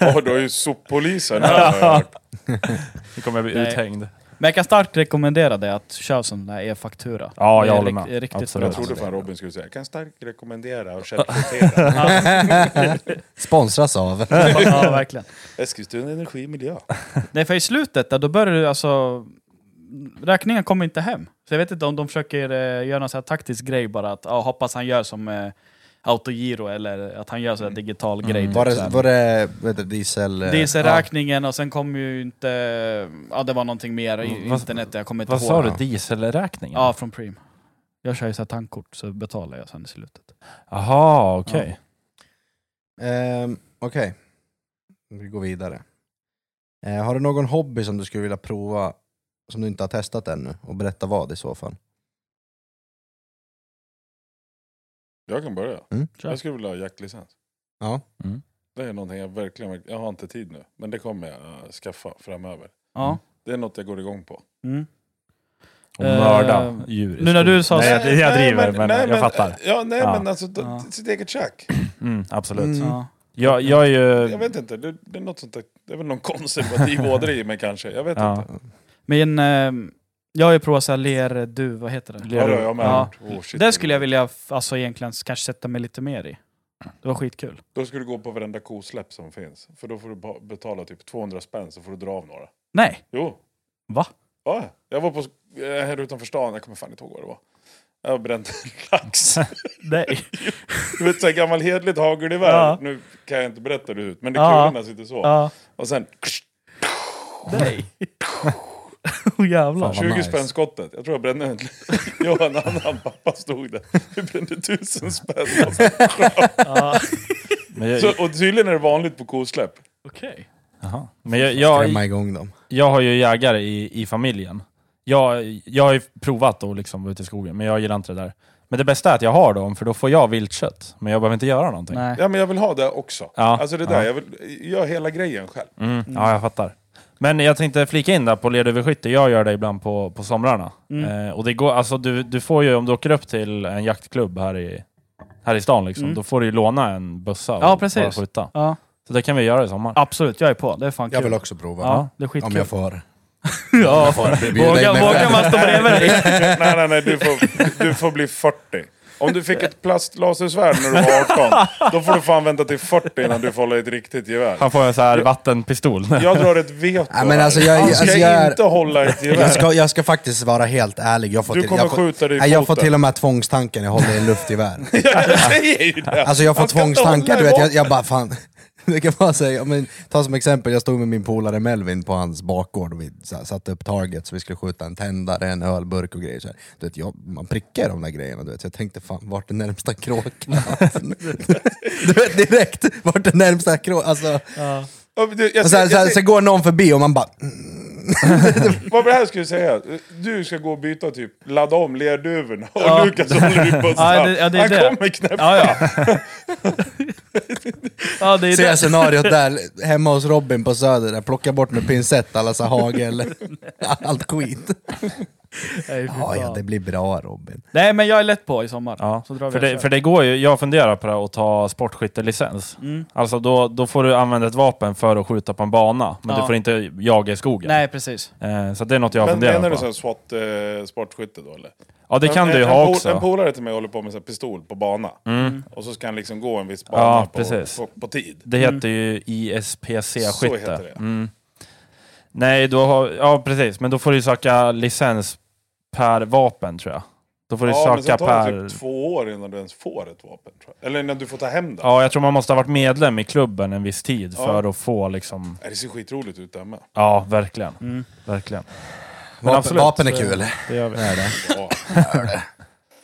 Åh, du har ju soppolisen här har jag hört.
(laughs) Nu kommer jag bli
Nej.
uthängd.
Men jag kan starkt rekommendera dig att köra sån där e-faktura.
Ja,
Det
jag
är
håller
rikt-
med.
Riktigt
Absolut.
Jag
bra.
trodde fan Robin skulle säga, jag kan starkt rekommendera
(laughs)
och källsortera.
Sponsras av.
ja, verkligen.
Eskilstuna Energi Miljö.
Nej, för i slutet där, då börjar du alltså... Räkningen kommer inte hem. Så jag vet inte om de försöker eh, göra någon sån här taktisk grej bara att ja, hoppas han gör som eh, autogiro eller att han gör sån här digital grej. typ
Mm. Var
så
det,
Liksom.
här.
var det vad heter det, diesel... eh,
Dieselräkningen och sen kom ju inte... Ja, det var någonting mer i
Vad-
internet, jag kommer inte
Vad
ihåg.
sa du?
Ja.
Dieselräkningen?
Ja, från Preem. Jag kör ju så här tankkort så betalar jag sen i slutet.
Jaha, okej.
Ja. Ehm, Okej, vi går vidare. Eh, har du någon hobby som du skulle vilja prova som du inte har testat ännu? Och berätta vad i så fall.
Jag kan börja.
Mm.
Jag skulle vilja ha jaktlicens.
Ja.
Mm.
Det är någonting jag verkligen, verkligen- jag har inte tid nu. Men det kommer jag eh, skaffa framöver.
Ja.
Det är något jag går igång på.
Mm.
Och mörda
Eh,
djur. i
nu när du sa
skogen.
så-
Nej, jag, jag driver, men,
nej,
jag fattar.
Ja, nej
Ja.
men alltså, d-
Ja.
sitt eget kök.
Mm, absolut.
Mm.
Ja.
Jag, jag är ju...
Jag vet inte, det, det är något sånt där, det är väl någon konservativ ådra i mig kanske. Jag vet
Ja.
inte.
Men eh, Jag har ju provat så här ler, du, vad heter det?
Ja, det har jag med.
Ja.
Oh, shit.
Det skulle jag vilja f- alltså, egentligen kanske sätta mig lite mer i. Det var skitkul.
Då ska du gå på varenda kosläpp som finns. För då får du ba- betala typ 200 spänn så får du dra av några.
(laughs)
Nej,
Jo.
va?
Ja, jag var på, eh, här utanför stan, jag kommer fan inte ihåg vad det var. Jag (laughs) brände en lax.
Nej.
Du vet såhär gammal hederligt hagelgevär.
Ja.
Nu kan jag inte berätta det ut, men det
Ja.
kulorna sitter så.
Ja,
Och sen
nej.
(laughs) Oh,
Åh jävlar.
Fan, vad
20
nice.
spänn skottet. Jag tror jag brände en... (laughs) jag och en annan pappa stod där. Vi brände
(laughs)
tusen spänn.
Men jag,
Så, och tydligen är det vanligt på kosläpp.
Okej.
Jaha. Men jag,
Skrämma
jag,
igång dem.
jag har ju jägare i, i familjen. Jag, jag har ju provat att liksom vara ute i skogen, men jag gillar inte det där. Men det bästa är att jag har dem, för då får jag viltkött. Men jag behöver inte göra någonting.
Nej.
Ja, men jag vill ha det också.
Ja,
Alltså det
ja.
där, jag vill göra hela grejen själv.
Mm. Ja, jag fattar. Men jag tänkte flika in där på lerduveskytte. Jag gör det ibland på, på somrarna.
Mm.
Eh, och det går, alltså du, du får ju, om du åker upp till en jaktklubb här i, här i stan, liksom, då får du ju låna en bössa och
Mm. Ja, precis.
bara skjuta.
Ja,
Så det kan vi göra i sommar.
absolut, jag är på. Det är fan
Jag vill
kul.
också prova.
Ja, det är
Om
skitkul.
jag
(laughs)
får.
Ja,
bjuda in
vågar,
mig
vågar
själv.
man stå
(laughs)
bredvid dig?
(laughs) nej, nej, nej, du får, du får bli 40. Om du fick ett plastlasersvärd när du var 18, då får du fan vänta till 40 innan du får hålla i ett riktigt gevär.
Han får en så här vattenpistol.
Jag drar ett veto
Nej, men
här.
alltså, jag-
Han ska
alltså, jag är-
inte hålla ett
Jag
gevär.
ska, jag ska faktiskt vara helt ärlig. Jag får
Du
till,
kommer
jag får,
skjuta dig i
Nej, Jag får
foten.
till och med tvångstanken. Jag håller i en luftgevär.
Jag säger ju det!
Alltså jag får
Han ska inte
tvångstankar, du
hålla
vet. Jag,
emot.
jag bara fan. (laughs) Det kan man säga. Ja, Men, ta som exempel, jag stod med min polare Melvin på hans bakgård och vi sa- satte upp target så vi skulle skjuta en tändare, en ölburk och grejer. Så här. Du vet, jag, man prickar de där grejerna, du vet. Så jag tänkte fan, vart är närmsta kråkan? (laughs) du vet direkt, vart är närmsta kråkan? Alltså,
Ja, men du, jag-
och så, här,
jag-
så, här,
jag-
så går någon förbi och man bara... mm.
Vad var det här skulle jag säga? Du ska gå och byta typ, ladda om lerduvorna och
Ja.
Lukas
(laughs)
håller i bössan.
Ja, det- ja, det är
Han
det.
kommer knäppa.
Ja, ja. ja, det är
Ser
det.
jag scenariot där, hemma hos Robin på Söder, där, plocka bort med pincett alla så här hagel, (laughs) allt skit.
Nej, fy
Ja, ja,
fan.
det blir bra Robin.
Nej, men jag är lätt på i sommar.
Ja,
Så drar vi
för
och
det,
kör.
för det går ju, jag funderar på det här att ta sportskyttelicens.
Mm.
Alltså då, då får du använda ett vapen för att skjuta på en bana, men
Ja.
du får inte jaga i skogen.
Nej, precis.
Eh, så det är något jag
Men
funderar
menar du
på.
sån SWAT eh, sportskytte då eller?
Ja, det kan
en,
du ju
en,
ha
pol-
också. Mm.
En polare till mig håller på med så här pistol på bana. Och så ska han liksom gå en viss bana
Ja,
på,
precis.
på, på tid.
Det heter
Mm.
ju
Så heter
ISPC-skytte.
det.
Mm. Nej, då har, ja precis. Men då får du söka licens per vapen tror jag. Då får du
Ja, men sen
söka
tar det
per...
typ två år innan du ens får ett vapen. Tror jag. Eller innan du får ta hem det.
Ja, jag tror man måste ha varit medlem i klubben en viss tid
Ja.
för att få liksom...
Nej, Det ser skitroligt ut där med.
(laughs) Ja, verkligen.
Mm.
Verkligen. Men
Vapen,
absolut,
vapen är
så-
kul.
Det gör vi.
Det är det.
Ja.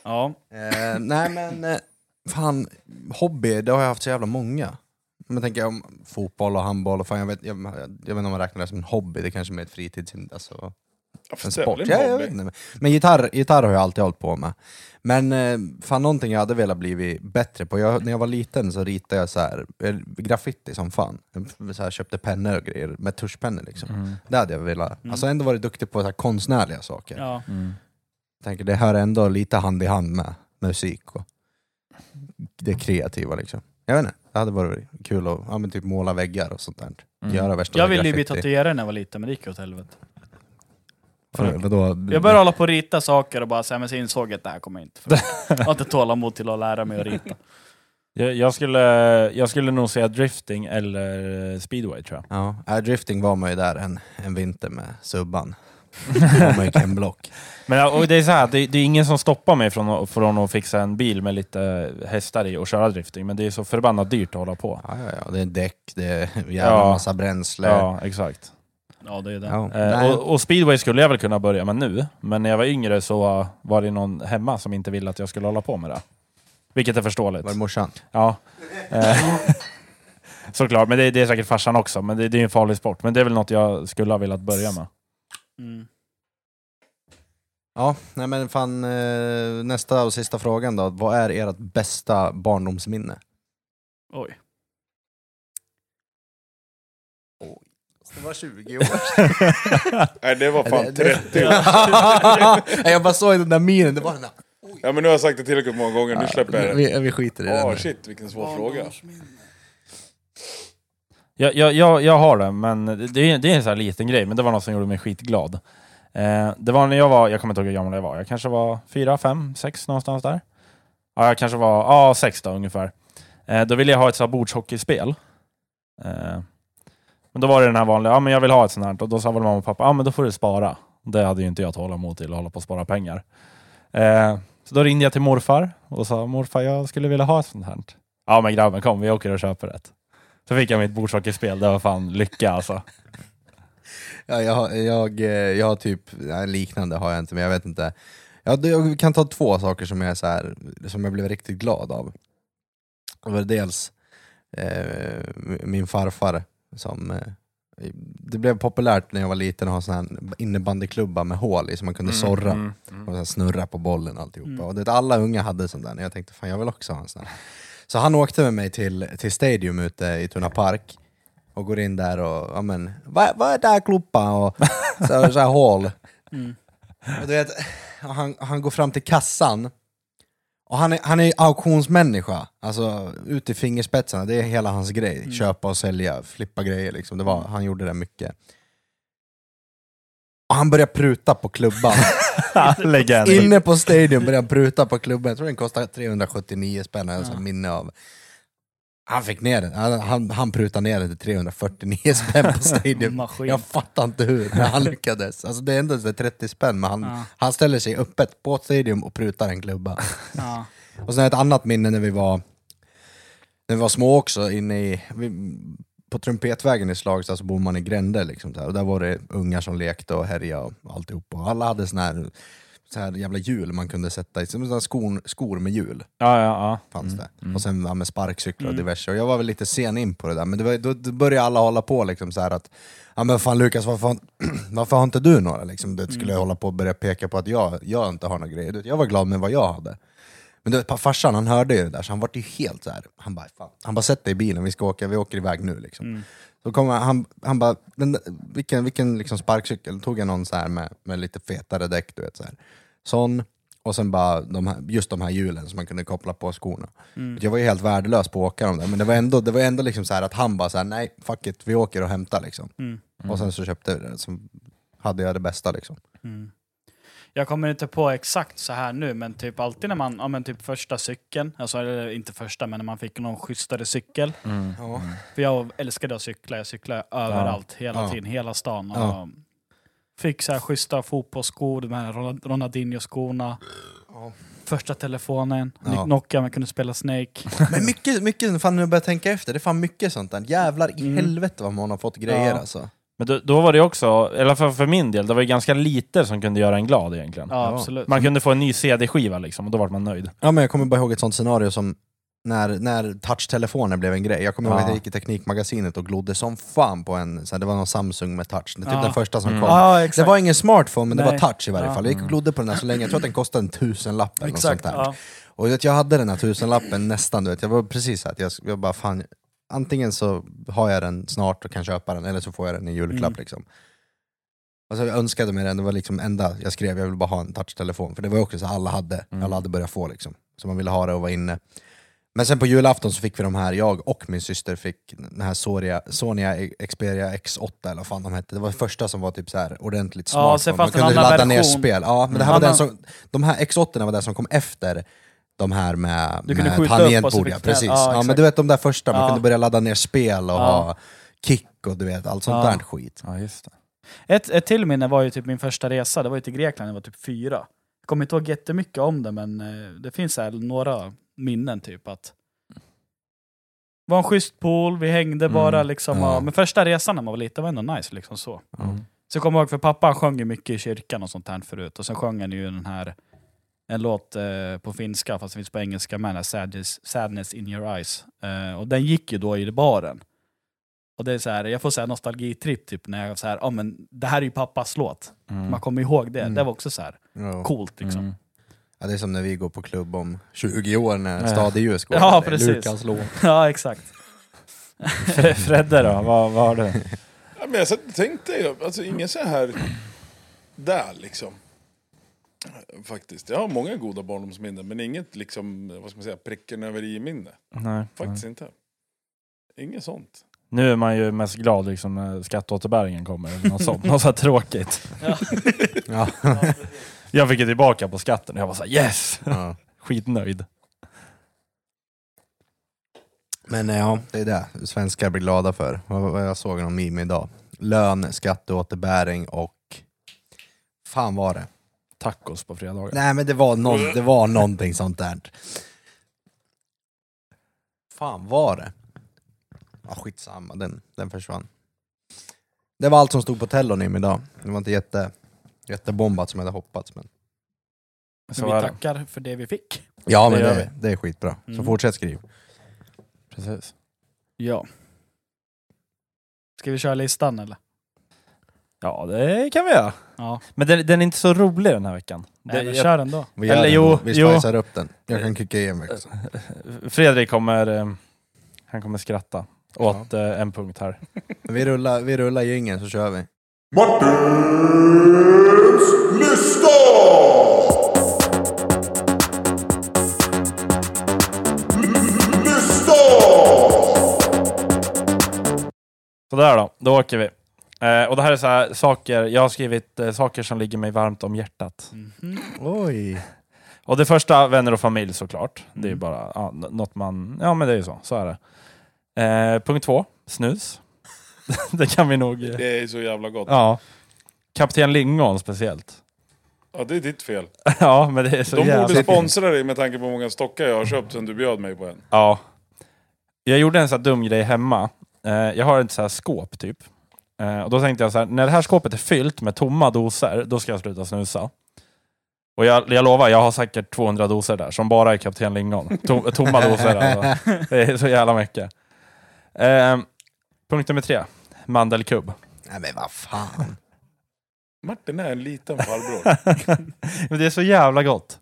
Ja.
Eh, nej men, eh, fan, hobby, det har jag haft så jävla många. Men tänker jag om fotboll och handboll, och fan, jag, vet, jag, jag vet inte om man räknar det som en hobby, det kanske är mer ett fritids... Alltså,
Ja, för
en
det är
sport.
väl
Ja,
en
jag
hobby.
vet inte. Men- Men gitarr, gitarr har jag alltid hållit på med. Men eh, fan någonting jag hade velat bli bättre på, jag, när jag var liten så ritade jag så här, eh, graffiti som fan. Så här, köpte pennor och grejer, med tuschpennor liksom.
Mm.
Mm,
Det hade jag velat. Alltså ändå varit duktig på så här, konstnärliga saker.
ja.
mm,
tänker det hör ändå lite hand i hand med musik och det kreativa liksom. Jag vet inte, det hade varit kul att ja, men typ måla väggar och sånt där.
Mm.
Göra värsta
Jag ville ju typ bli
graffiti.
tatuerare när jag var liten, men det gick åt helvete.
Vadå, vadå?
Jag började hålla på och rita saker och bara så här, men så insåg jag att det här kommer jag
(laughs)
inte funka. Jag har inte tålamod till att lära mig att rita.
Jag, jag, skulle, jag skulle nog säga drifting eller speedway tror jag.
Ja, äh, drifting var man ju där en, en vinter med subban. Då var man ju Ken-block.
Men ja, och det är så här, det, det är ingen som stoppar mig från, att- från att fixa en bil med lite hästar i och köra drifting, men det är så förbannat dyrt att hålla på.
Ja, ja, ja, det är däck, det är jävla
Ja.
massa bränsle. Ja.
Ja, exakt.
Ja, det är det.
Ja.
Eh,
Nej,
och, och speedway skulle jag väl kunna börja med nu, men när jag var yngre så eh, var det någon hemma som inte ville att jag skulle hålla på med det. Vilket är förståeligt.
var det morsan?
Ja. Eh, (laughs) Såklart, men det, det är säkert farsan också, men det, det är ju en farlig sport. Men det är väl något jag skulle ha velat börja med.
Mm.
Ja, nej men fan, eh, nästa och sista frågan då. Vad är ert bästa barndomsminne?
Oj.
Det var 20 (laughs) år
Nej, det var fan
Det- det-
30 år.
(laughs) Nej, jag bara såg den där minen, det var den där...
Ja, men nu har jag sagt det tillräckligt många gånger, nu släpper jag det.
vi, vi skiter i
Åh
den.
shit, vilken svår fråga.
(laughs) Jag, jag, jag, jag har det, men det, det är, det är en sån här liten grej, men det var något som gjorde mig skitglad. Eh, det var när jag var, jag kommer inte ihåg hur gammal jag var, jag kanske var fyra, fem, sex någonstans där. Ja, jag kanske var, ja, sex då ungefär. Eh, då ville jag ha ett sånt här bordshockeyspel. Eh, men då var det den här vanliga, ja men jag vill ha ett sånt här. Och då sa väl mamma och pappa, ja men då får du spara. Det hade ju inte jag tålamod till, att hålla på och spara pengar. Eh, så då ringde jag till morfar och sa, morfar jag skulle vilja ha ett sånt här. Ja men grabben kom, vi åker och köper ett. Så fick jag mitt bordshockeyspel, det var fan lycka alltså.
Ja, jag, har- jag, eh, jag har typ, nej, liknande har jag inte, men jag vet inte. Jag, jag kan ta två saker som jag, är så här, som jag blev riktigt glad av. Det var dels eh, min farfar som... Eh, det blev populärt när jag var liten att ha såna här innebandyklubba med hål i som man kunde sorra.
Mm, (laughs)
Och så här snurra på bollen och alltihopa.
Mm.
Och det, alla unga hade sån där, och jag tänkte fan jag vill också ha en sån här. Så han åkte med mig till, till Stadium ute i Tuna Park och går in där och, ja men, vad, vad är där klubban? Och så, så här hål. Och du vet, han, han går fram till kassan och han är, han är auktionsmänniska, alltså ut i fingerspetsarna, det är hela hans grej. Köpa och sälja, flippa grejer liksom. Det var, han gjorde det mycket. Och han börjar pruta på klubban.
Legend.
Inne på Stadium började han pruta på klubben, jag tror den kostade 379 spänn, alltså minne av. Han fick ner den, han, han, han prutade ner den till 349 spänn på
(laughs)
Stadium.
Maskin.
Jag fattar inte hur, men han lyckades. Alltså det är ändå så där 30 spänn, men han,
Ja.
han ställer sig öppet på Stadium och prutar en klubba.
Ja.
Och sen ett annat minne när vi var, när vi var små också, inne i, vi, på Trumpetvägen i Slagsta så bor man i gränder liksom. Så här. Och där var det ungar som lekte och härjade och alltihop. Och alla hade sån här, så här jävla hjul man kunde sätta i, som såna här skor, skor med hjul
Ja, ja, ja.
fanns det. Och sen ja, med sparkcyklar och diverse. Och jag var väl lite sen in på det där, men det var, då, då började alla hålla på liksom så här att Ja men fan Lukas, varför, har- (clears throat) varför har inte du några? Liksom, det skulle jag hålla på och börja peka på att jag, jag inte har några grejer. Du vet, Jag var glad med vad jag hade. Men du vet, pa- farsan han hörde ju det där, så han var ju helt så här. han bara, fan. Han bara sätt dig i bilen, vi ska åka, vi åker iväg nu liksom. Så kom han, han, han bara, den, där- vilken, vilken liksom sparkcykel? Tog jag någon så här med, med lite fetare däck, du vet så här. Sån, och sen bara de här, just de här hjulen som man kunde koppla på skorna. Jag var ju helt värdelös på att åka de där, men det var ändå, det var ändå liksom så här att han bara så här, nej fuck it, vi åker och hämtar liksom. Och sen så köpte vi det, så hade jag det bästa liksom.
Jag kommer inte på exakt så här nu, men typ alltid när man, ja men typ första cykeln, alltså eller inte första, men när man fick någon schysstare cykel.
Ja.
För jag älskade att cykla, jag cyklade överallt, hela
Ja.
tiden, hela stan. Och
Ja.
Fick så här schyssta fotbollsskor, de här Ron- Ronaldinho-skorna. Första telefonen,
Ja.
Nokia, man kunde spela Snake.
(laughs) Men mycket, mycket, fan när jag börjar tänka efter, det är fan mycket sånt där. Jävlar i
Mm.
helvete vad man har fått grejer
Ja.
alltså.
Men då, då var det också, eller för, för min del, det var ju ganska lite som kunde göra en glad egentligen.
Ja, absolut.
Man kunde få en ny CD-skiva liksom, och då var man nöjd.
Ja men jag kommer bara ihåg ett sånt scenario som när, när touchtelefoner blev en grej. Jag kommer ihåg
Ja.
att jag gick i Teknikmagasinet och glodde som fan på en, så här, det var någon Samsung med touch, det är typ
Ja.
den första som
Mm.
kom.
Ja,
Det var ingen smartphone men det
Nej.
var touch i varje
Ja.
fall. Jag gick och glodde på den här så länge, jag tror att den kostade en tusenlapp eller något sånt
Exakt.
där.
Ja.
Och du vet, jag hade den här tusenlappen nästan, du vet. jag var precis så här, att jag, jag bara fan, antingen så har jag den snart och kan köpa den, eller så får jag den i julklapp
Mm.
liksom. Och så jag önskade mig den, det var liksom enda jag skrev, jag ville bara ha en touchtelefon. För det var ju också så här, alla hade,
Mm.
alla hade börjat få liksom. Så man ville ha det och vara inne. Men sen på julafton så fick vi de här, jag och min syster fick den här Soria, Sonya Xperia X8 eller vad fan de hette. Det var det första som var typ så här ordentligt
Ja,
smartphone.
sen
man
fanns det en
kunde
annan
ladda ner
version.
spel. Ja, men det här var
Mm.
den som, de här X8 var den som kom efter de här med,
Du kunde
med
skjuta upp och så
tangentbord.
fick
Ja,
du knä-
precis.
ja,
Ja, men
exakt.
du vet de där första, man
Ja.
kunde börja ladda ner spel och
Ja.
ha kick och du vet, allt sånt
Ja.
där skit.
Ja, just det.
Ett, ett till minne var ju typ min första resa, det var ju till Grekland, jag var typ fyra. Jag kommer inte ihåg jättemycket om det, men eh, det finns så här några minnen typ att... Det var en schysst pool, vi hängde bara
Mm,
liksom.
ja.
och- Men första resan när man var liten var ändå nice liksom så.
Mm.
Så jag kommer ihåg, för pappa han sjöng ju mycket i kyrkan och sånt här förut. Och sen sjöng han ju den här, en låt eh, på finska, fast det finns på engelska med, den här sadness, sadness in your eyes. Eh, och den gick ju då i baren. Och det är så här, jag får så här nostalgitripp typ när jag så här, ja men det här är ju pappas låt.
Mm.
Man kommer ihåg det,
Mm.
det var också så här
Ja.
coolt liksom.
Mm.
Ja, det är som när vi går på klubb om 20 år när
Ja.
Stade ljus går.
Ja,
Det är
precis.
Lukas låt.
(laughs) ja exakt.
Fre- Fredde då, vad, vad har du?
(laughs)
Ja, men jag satt och tänkte, ju, alltså ingen så här där liksom. Faktiskt. Jag har många goda barndomsminnen, men inget liksom, vad ska man säga, pricken över i-minne.
Nej.
Faktiskt inte. Inget sånt.
Nu är man ju mest glad liksom, när skatteåterbäringen kommer, eller något sånt. något så här tråkigt.
Ja.
Jag fick ju tillbaka på skatten och jag var såhär yes!
Ja.
Skitnöjd.
Men eh, ja, det är det svenskar blir glada för. Vad, vad jag såg någon meme idag. Lön, skatteåterbäring och... Fan var det?
Tacos på fredagar.
Nej men det var, någon, det var någonting sånt där. Fan var det? Ja, skitsamma, den, den försvann. Det var allt som stod på Tellonym idag. Det var inte jätte, jättebombat som jag hade hoppats. Men...
Så
vi
är det.
tackar för det vi fick.
Ja
Det
men
gör
det, det, är skitbra. Så
Mm.
fortsätt skriv.
Precis.
Ja. Ska vi köra listan eller?
Ja, det kan vi göra.
Ja.
Men den, den är inte så rolig den här veckan.
Nej,
Det-
men
jag-
kör den då.
Vi, gör
Eller
den.
jo,
vi
jo.
spicar upp den. Jag kan kicka i en också.
Fredrik kommer, eh, han kommer skratta åt eh, en punkt här.
Vi rullar, vi rullar gängen så kör vi.
Martins lista! L- Lista!
Sådär då, då åker vi. Eh, och det här är så här, saker, jag har skrivit eh, saker som ligger mig varmt om hjärtat.
Mm. Mhm.
Oj!
Och det första, vänner och familj såklart. Det är ju
Mm.
bara ja, n- något man, ja men det är ju så, så är det. Eh, punkt två, snus. (laughs) det kan vi nog... Eh,
Det är så jävla gott.
ja. Kapten Lingon speciellt. (laughs)
Ja, det är ditt fel.
ja, men det är så
De borde
jävla...
sponsra dig med tanke på hur många stockar jag har köpt sen du bjöd mig på en.
Ja. Jag gjorde en sån här dum grej hemma. Eh, jag har ett så här skåp typ. Eh, och då tänkte jag så här, när det här skåpet är fyllt med tomma doser, då ska jag sluta snusa. Och jag, jag lovar, jag har säkert 200 doser där som bara är Kapten Lingon. To, tomma doser
(laughs)
alltså. Det är så jävla mycket. Eh, punkt nummer tre, mandelkubb.
Nej men vad fan.
Martin är en liten farbror.
Men det är så jävla gott.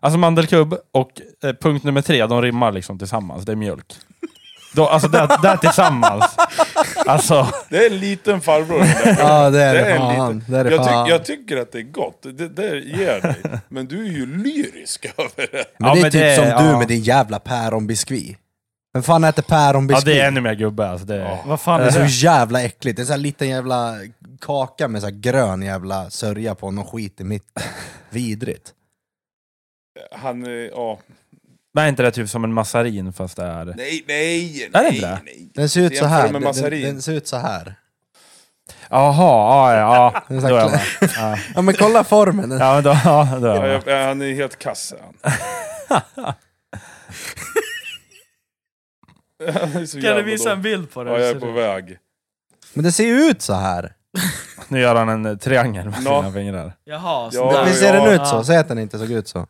Alltså mandelkubb och eh, punkt nummer tre, de rimmar liksom tillsammans. Det är mjölk. Då, alltså där, där tillsammans. Alltså,
Det är en liten farbror. den där.
Ja det är
Det
det,
är en
fan. Det är det
Jag,
fan.
tyck- jag tycker att det är gott, det där ger jag dig. Men du är ju lyrisk över det.
Men
Ja,
det är
men
typ
det-
som du
ja.
med din jävla päronbiskvi. Vem fan äter
ja,
päronbiskvi?
det är ännu mer gubbe. Alltså, det, är-
Vad fan
det
är
är
det?
så jävla äckligt. Det är så här liten jävla kaka med så här grön jävla sörja på och någon skit i mitten. Vidrigt.
Han, eh, ja.
Men är inte det typ som en massarin fast det är...
Nej, nej,
Är det
nej,
inte det?
nej.
Den ser ut så
Jämför
här.
med
Den, den,
massarin.
den ser ut så här.
Jaha, ja, ja. ja. Då
Den är så
är jag
här
med.
kla- (laughs)
(laughs)
ja men kolla formen. Den,
Ja, men då, ja, då är jag
Ja,
med.
jag, eh, han är helt kass är han. Han är så
Kan
jävla
du visa en
dålig.
bild på det?
Ja,
Hur
jag
ser
är på
det
väg.
Men den ser ju ut så här.
Nu gör han en eh, triangel med
Nå.
sina fingrar.
ut? Jaha,
Ja,
sådär.
Visst ser
ja.
den ut så? Säg att den inte såg ut så.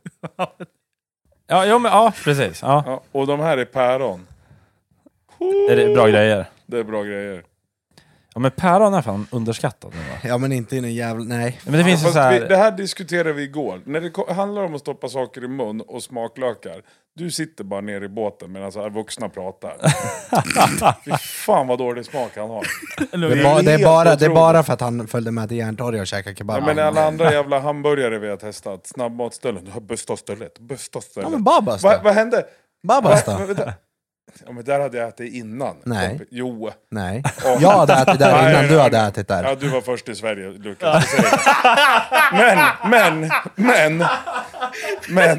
Ja, jo, men, ja precis. Ja.
Ja, och de här är päron.
Det är bra grejer.
Det är bra grejer.
Ja, men päron är fan underskattat nu va?
Ja men inte i någon jävla... Nej.
Men det finns ju
Fast
så här...
vi, det här diskuterade vi igår. När det ko- handlar om att stoppa saker i mun och smaklökar. Du sitter bara nere i båten medan så här vuxna pratar. Fy fan vad dålig smak han har.
Det är,
är
ba, det, är
helt
bara, det är
otroligt.
bara för att han följde med till Järntorget och käkade kebab.
Ja, men alla andra jävla hamburgare vi har testat. Snabbmatsställen. Det här Bästa stället. Bästa stället.
Ja men Babas
Vad
då?
vad hände?
Babas
Va-
då?
men vänta. Ja, men där hade jag ätit innan.
Nej.
Kompi- Jo.
Nej. Jag hade ätit där
(laughs) Nej,
innan
nej,
du
nej.
hade ätit där.
Ja, du var först i Sverige, Lukas. Jag säger det. Men, men, men, men,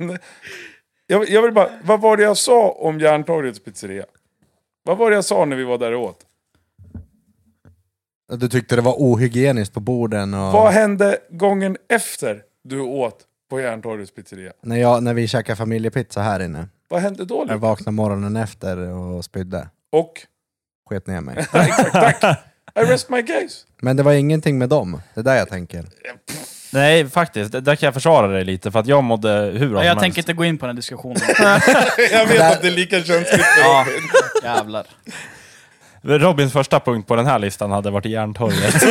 men. Jag, jag vill bara, vad var det jag sa om Järntorgets pizzeria? Vad var det jag sa när vi var där och åt?
Du tyckte det var ohygieniskt på borden och...
Vad hände gången efter du åt på Järntorgets pizzeria?
När, jag, när vi käkade familjepizza här inne.
Vad hände då?
Jag
Lukas?
vaknade morgonen efter och spydde.
Och?
Sket ner mig.
Ja, exakt, tack. I rest my case.
Men det var ingenting med dem. Det är där jag tänker.
Nej, faktiskt. Där kan jag försvara dig lite, för att jag mådde hur bra
Nej,
som
jag
helst.
tänker inte gå in på
(laughs)
den här diskussionen.
Jag vet att det är lika känsligt för dig.
ja, jävlar.
Robins första punkt på den här listan hade varit
(laughs)
Järntorget.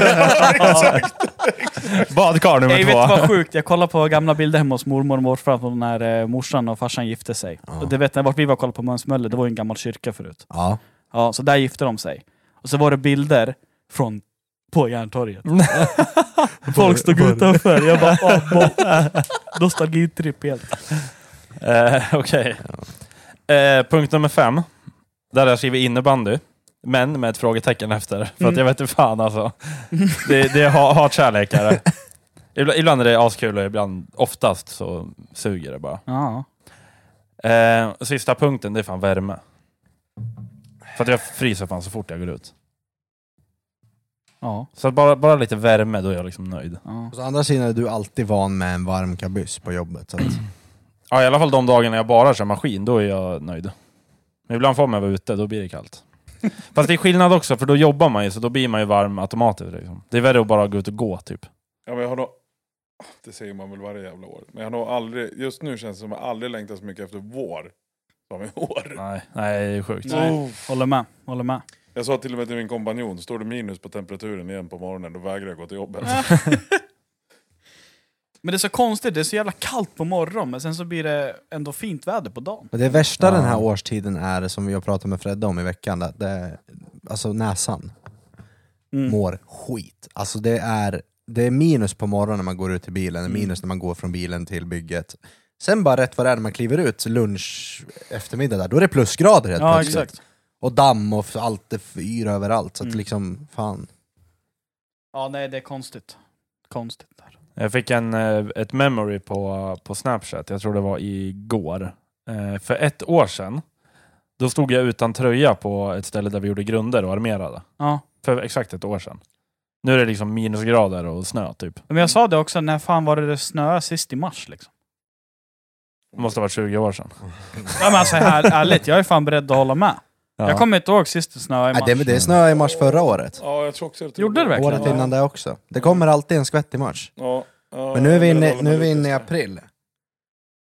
Badkar nummer
Nej, vet
två.
du vad sjukt? Jag kollade på gamla bilder hemma hos mormor och morfar från när eh, morsan och farsan gifte sig. Och det vet ni, vart vi var och kollade på Mönsmölle, det var ju en gammal kyrka förut.
Ja.
Ja, så där gifte de sig. Och så var det bilder från
(laughs)
på Järntorget. Folk stod utanför. Jag bara,
(laughs)
åh, bo- nostalgitripp helt.
Eh, Okej. Eh, punkt nummer fem. Där har jag skrivit innebandy. Men med ett frågetecken efter. För att jag
Mm.
vet inte fan alltså. Det, det är ha- hatkärlek. är det. Ibla- Ibland är det askul och ibland, oftast så suger det bara.
Ja.
Eh, och sista punkten, det är fan värme. För att jag fryser fan så fort jag går ut.
Ja.
Så att bara, bara lite värme, då är jag liksom nöjd.
ja.
Å andra sidan är du alltid van med en varm kabyss på jobbet. Så att,
Ja, i alla fall de dagarna jag bara kör maskin, då är jag nöjd. Men ibland får man vara ute, då blir det
(laughs)
kallt. Fast det är skillnad också, för då jobbar man ju, så då blir man ju varm automatiskt. Liksom. Det är värre att bara gå ut och gå, typ.
Ja, men jag har nog... Det säger man väl varje jävla år. Men jag har nog aldrig, just nu känns det som att jag aldrig längtat så mycket efter vår som i år.
Nej, nej det är sjukt.
Nej.
Oh.
Håller med. Håller med.
Jag sa till och med till min kompanjon, står det minus på temperaturen igen på morgonen då vägrar jag gå till
Mm.
jobbet.
Men det är så konstigt, det är så jävla kallt på morgonen men sen så blir det ändå fint väder på dagen.
men det värsta
Ja.
den här årstiden är, som jag pratade med Fredde om i veckan, det, det, alltså näsan
Mm.
mår skit. Alltså det är, det är minus på morgonen när man går ut i bilen,
Mm.
det är minus när man går från bilen till bygget. Sen bara rätt vad det är när man kliver ut, lunch, eftermiddag där, då är det plusgrader helt
Ja,
plötsligt.
exakt. Mm.
Och damm och f- allt är fyr överallt, så att liksom, fan.
Ja, nej det är konstigt. Konstigt. Där.
(laughs) Jag fick en, eh, ett memory på, på Snapchat, jag tror det var igår. Eh, För ett år sedan, då stod jag utan tröja på ett ställe där vi gjorde grunder och armerade.
Ja.
För exakt ett år sedan. Nu är det liksom minusgrader och snö, typ.
Men jag sa det också, när fan var det det snöade sist i mars liksom?
Det måste ha varit 20 år sedan.
Ja, men
(laughs)
alltså här, ärligt, jag är fan beredd att hålla med.
Ja.
Jag kommer inte ihåg sist det snöade i
Nej,
mars.
det, det snöade i mars förra året.
ja, jag tror också att
Gjorde det verkligen?
Året innan det också. Det kommer alltid en skvätt i mars.
Ja, ja,
Men nu är vi
jag
inne,
håller
nu är
med
vi
lite.
inne i april.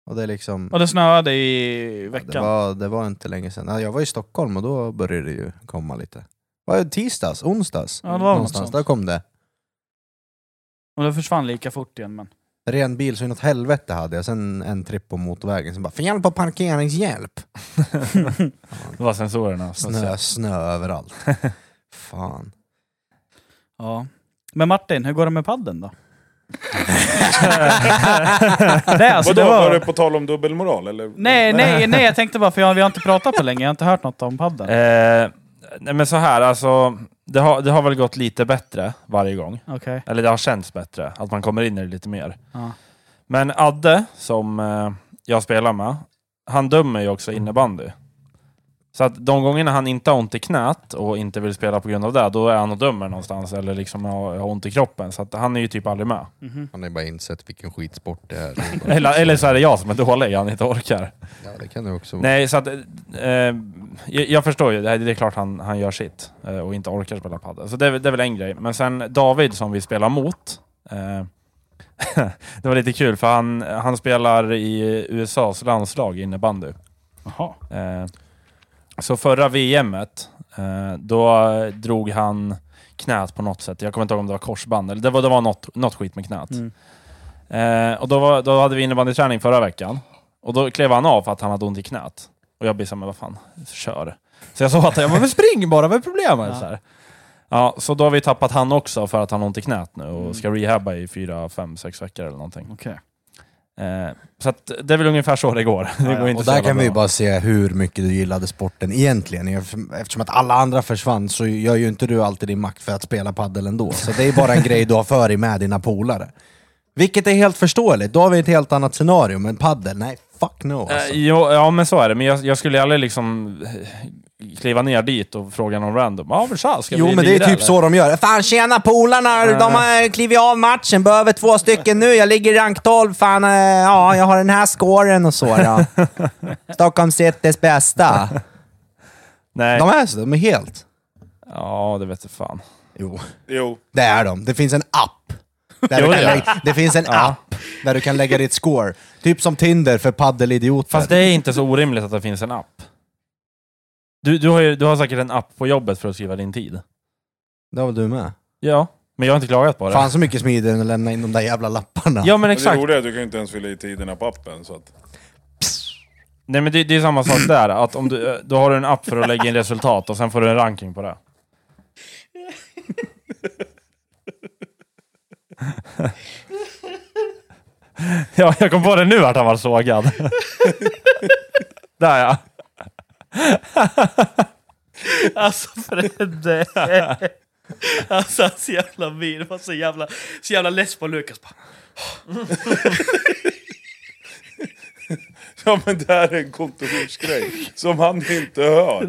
Och det är liksom...
Och det snöade i veckan.
Det var, det var inte länge sedan. Ja, Jag var i Stockholm och då började det ju komma lite. Var det tisdags? Onsdags?
Ja, det var något
Någonstans,
sånt.
där kom det.
Och det försvann lika fort igen. Men...
Ren bil så inåt helvete hade jag, sen en tripp på motorvägen, sen bara fel på parkeringshjälp!
Det var sensorerna. Så att
Snö,
säga.
snö överallt. Fan.
Ja. Men Martin, hur går det med
(laughs)
padden då? det,
Vadå,
alltså, det
var...
var...
det på tal om dubbelmoral eller?
(laughs)
Nej, nej, nej, jag tänkte bara för jag, vi har inte pratat på länge, jag har inte hört något om padden.
(laughs) Eh, nej men så här, alltså. Det har, det har väl gått lite bättre varje gång.
Okej.
Eller det har känts bättre, att man kommer in i det lite mer.
Ja.
Men Adde, som eh, jag spelar med, han dömer ju också innebandy. Så att de gångerna han inte har ont i knät och inte vill spela på grund av det, då är han och dömer någonstans eller liksom har, har ont i kroppen. Så att han är ju typ aldrig med.
Mhm.
Han har ju bara insett vilken skitsport det är.
Eller, eller så är det jag som är dålig, han inte orkar.
Ja, det kan det också vara.
Nej, så att, eh, eh, jag, jag förstår ju. Det är, det är klart han, han gör sitt eh, och inte orkar spela padel. Så det, är väl- det är väl en grej. Men sen David som vi spelar mot. Eh, (laughs) det var lite kul för han, han spelar i USAs landslag i innebandy.
Jaha.
Eh, så förra VMet, eh, då drog han knät på något sätt. Jag kommer inte ihåg om det var korsband, eller det var, det var något, något skit med knät.
Mm.
Eh, och då, var, då hade vi innebandyträning förra veckan. Och då klev han av för att han hade ont i knät. Och jag blev såhär, men vad fan, kör. Så jag sa åt honom, "Ja,
(laughs)
men spring bara, vad är problemet?
Ja.
Så, här. Ja, så då har vi tappat han också för att han har ont i knät nu och
Mm.
ska rehabba i fyra, fem, sex veckor eller någonting.
Okej.
Eh, så att det är väl ungefär så det går. (laughs) Det
Ja, ja.
går inte
Och
så
där
jävla
kan vi
bra.
ju bara se hur mycket du gillade sporten egentligen. Eftersom- Eftersom att alla andra försvann så gör ju inte du alltid din makt för att spela padel ändå. Så det är bara en grej du har för dig med dina polare. Vilket är helt förståeligt, då har vi ett helt annat scenario. Men padel, nej fuck no alltså.
Eh, jo, ja, men så är det. Men jag, jag skulle aldrig liksom eh, kliva ner dit och fråga någon random. Ja, men tja, ska
Jo
vi
men det är
lira,
typ
eller?"
så de gör. Fan tjena polarna, de har eh, klivit av matchen, behöver två stycken nu. Jag ligger i rank 12, fan eh, ja, jag har den här scoren och så.
(laughs)
Ja. Stockholm Citys bästa.
Nej,
De är så, de är helt...
ja det vet jag fan.
Jo.
Jo,
Det är de. Det finns en app. Där
Jo,
du kan
ja.
lägga, det finns en app där du kan lägga ditt score. Typ som Tinder för paddelidioter.
Fast det är inte så orimligt att det finns en app. Du, du, har, ju, du har säkert en app på jobbet för att skriva din tid.
det har väl du med?
Ja, men jag har inte klagat på det.
Fan så mycket smidigare än att lämna in de där jävla lapparna.
Ja, men
men det
exakt.
roliga är att du kan ju inte ens fylla i tiderna på appen. Så att... (laughs)
Nej, men det, det är samma sak där. Att om du, eh, då har du en app för att lägga in resultat och sen får du en ranking på det. ja, jag kom på det nu vart han var sågad. där ja.
Alltså Fredde. Alltså hans jävla min var så jävla, så jävla less på Lukas. Bara,
Ja men det här är en kontorsgrej som han inte hör.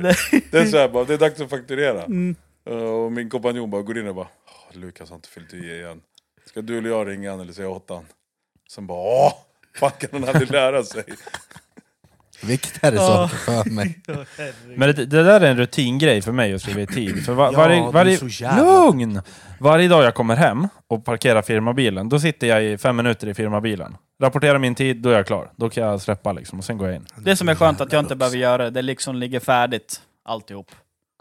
Det är såhär bara, det är dags att fakturera.
Mm.
Eh, Och min kompanjon bara går in och bara, "Åh, Lukas har inte fyllt i igen. Ska du eller jag ringa han eller säga åt han? Sen bara, åh! Fan kan han aldrig lära sig?
Viktigare saker för mig.
Men det, det där är en rutingrej för mig att skriva i tid. För var,
Ja,
varje,
du är
varje,
så jävla-
Lugn! Varje dag jag kommer hem och parkerar firmabilen, då sitter jag i fem minuter i firmabilen. Rapporterar min tid, då är jag klar. Då kan jag släppa liksom, och sen går jag in.
Det som är skönt att jag inte behöver göra det, det liksom ligger färdigt alltihop.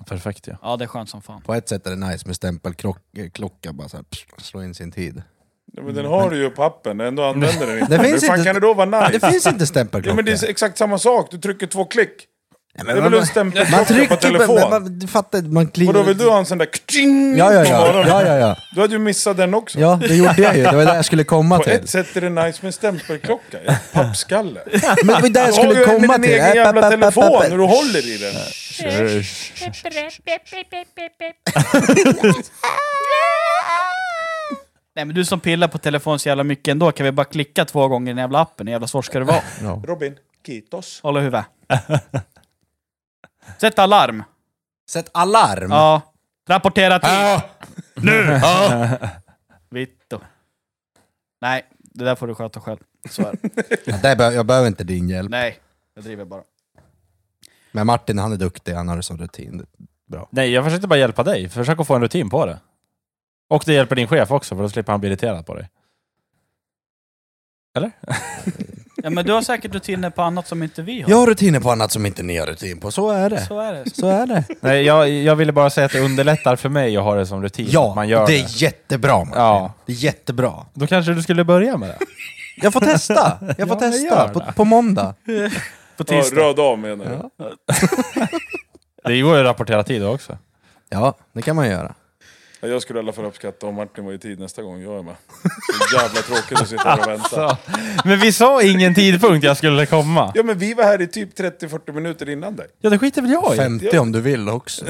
Perfekt ja.
Ja, det är skönt som fan.
På ett sätt är det nice med stämpelklocka, bara så här, pss, slå in sin tid.
Ja, men den har du ju på appen, ändå
(laughs)
använder den inte.
Det
Hur
finns
fan
inte-
kan det då vara
Det
nice?
finns inte stämpelklocka.
Ja, men det är exakt samma sak, du trycker två klick.
Nej,
Det är väl en stämpelklocka
Man
på
trycker
telefon?
Men, man, du fattar, man kliver...
Och då vill du ha en sån där kting
Ja, ja,
på
ja.
morgonen.
ja, ja, ja.
Du hade ju missat den också.
Ja, det gjorde jag ju. Det var det jag skulle komma
På
till.
ett sätt är det nice med stämpelklocka,
(laughs)
en pappskalle.
Men det var det jag
Jag har
skulle
ju med
komma
din
till. Äh,
egen
Äpp,
jävla
äpp, äpp,
telefon
äpp, äpp.
när du håller i den.
Nej men du som pillar på telefon så jävla mycket ändå, kan vi bara klicka två gånger i den jävla appen? Hur jävla svårt ska det
(laughs)
vara?
Robin, kitos.
Håll i huvudet. Sätt alarm.
Sätt alarm!
Ja. Rapportera till.
Ah.
Ah. (laughs) Nu!
Vitto. Nej, det där får du sköta själv. Så är det.
jag behöver inte din hjälp.
Nej, jag driver bara.
Men Martin, han är duktig. Han har det som rutin. Bra.
Nej, jag försökte bara hjälpa dig. Försök att få en rutin på det. Och det hjälper din chef också, för då slipper han bli irriterad på dig. Eller?
Ja, men du har säkert rutiner på annat som inte vi har.
Jag har rutiner på annat som inte ni har rutin på. Så är det.
Så är det.
Så (laughs) är det.
Nej, jag, jag ville bara säga att det underlättar för mig att ha det som rutin.
Ja,
att man gör
det
det.
är jättebra Martin.
Ja.
Det är jättebra.
Då kanske du skulle börja med det.
Jag får testa. Jag får
men
testa
gör
på,
det.
på måndag.
På
Ja,
tisdag.
röd av menar jag.
Det går ju att rapportera tid också.
Ja, det kan man göra.
Ja. Jag skulle i alla fall uppskatta om Martin var i tid nästa gång jag är med. Så jävla tråkigt att sitta här
(laughs)
och vänta.
Men vi sa ingen tidpunkt jag skulle komma.
Ja men vi var här i typ 30-40 minuter innan dig.
Ja, det skiter väl jag i.
50 om du vill också.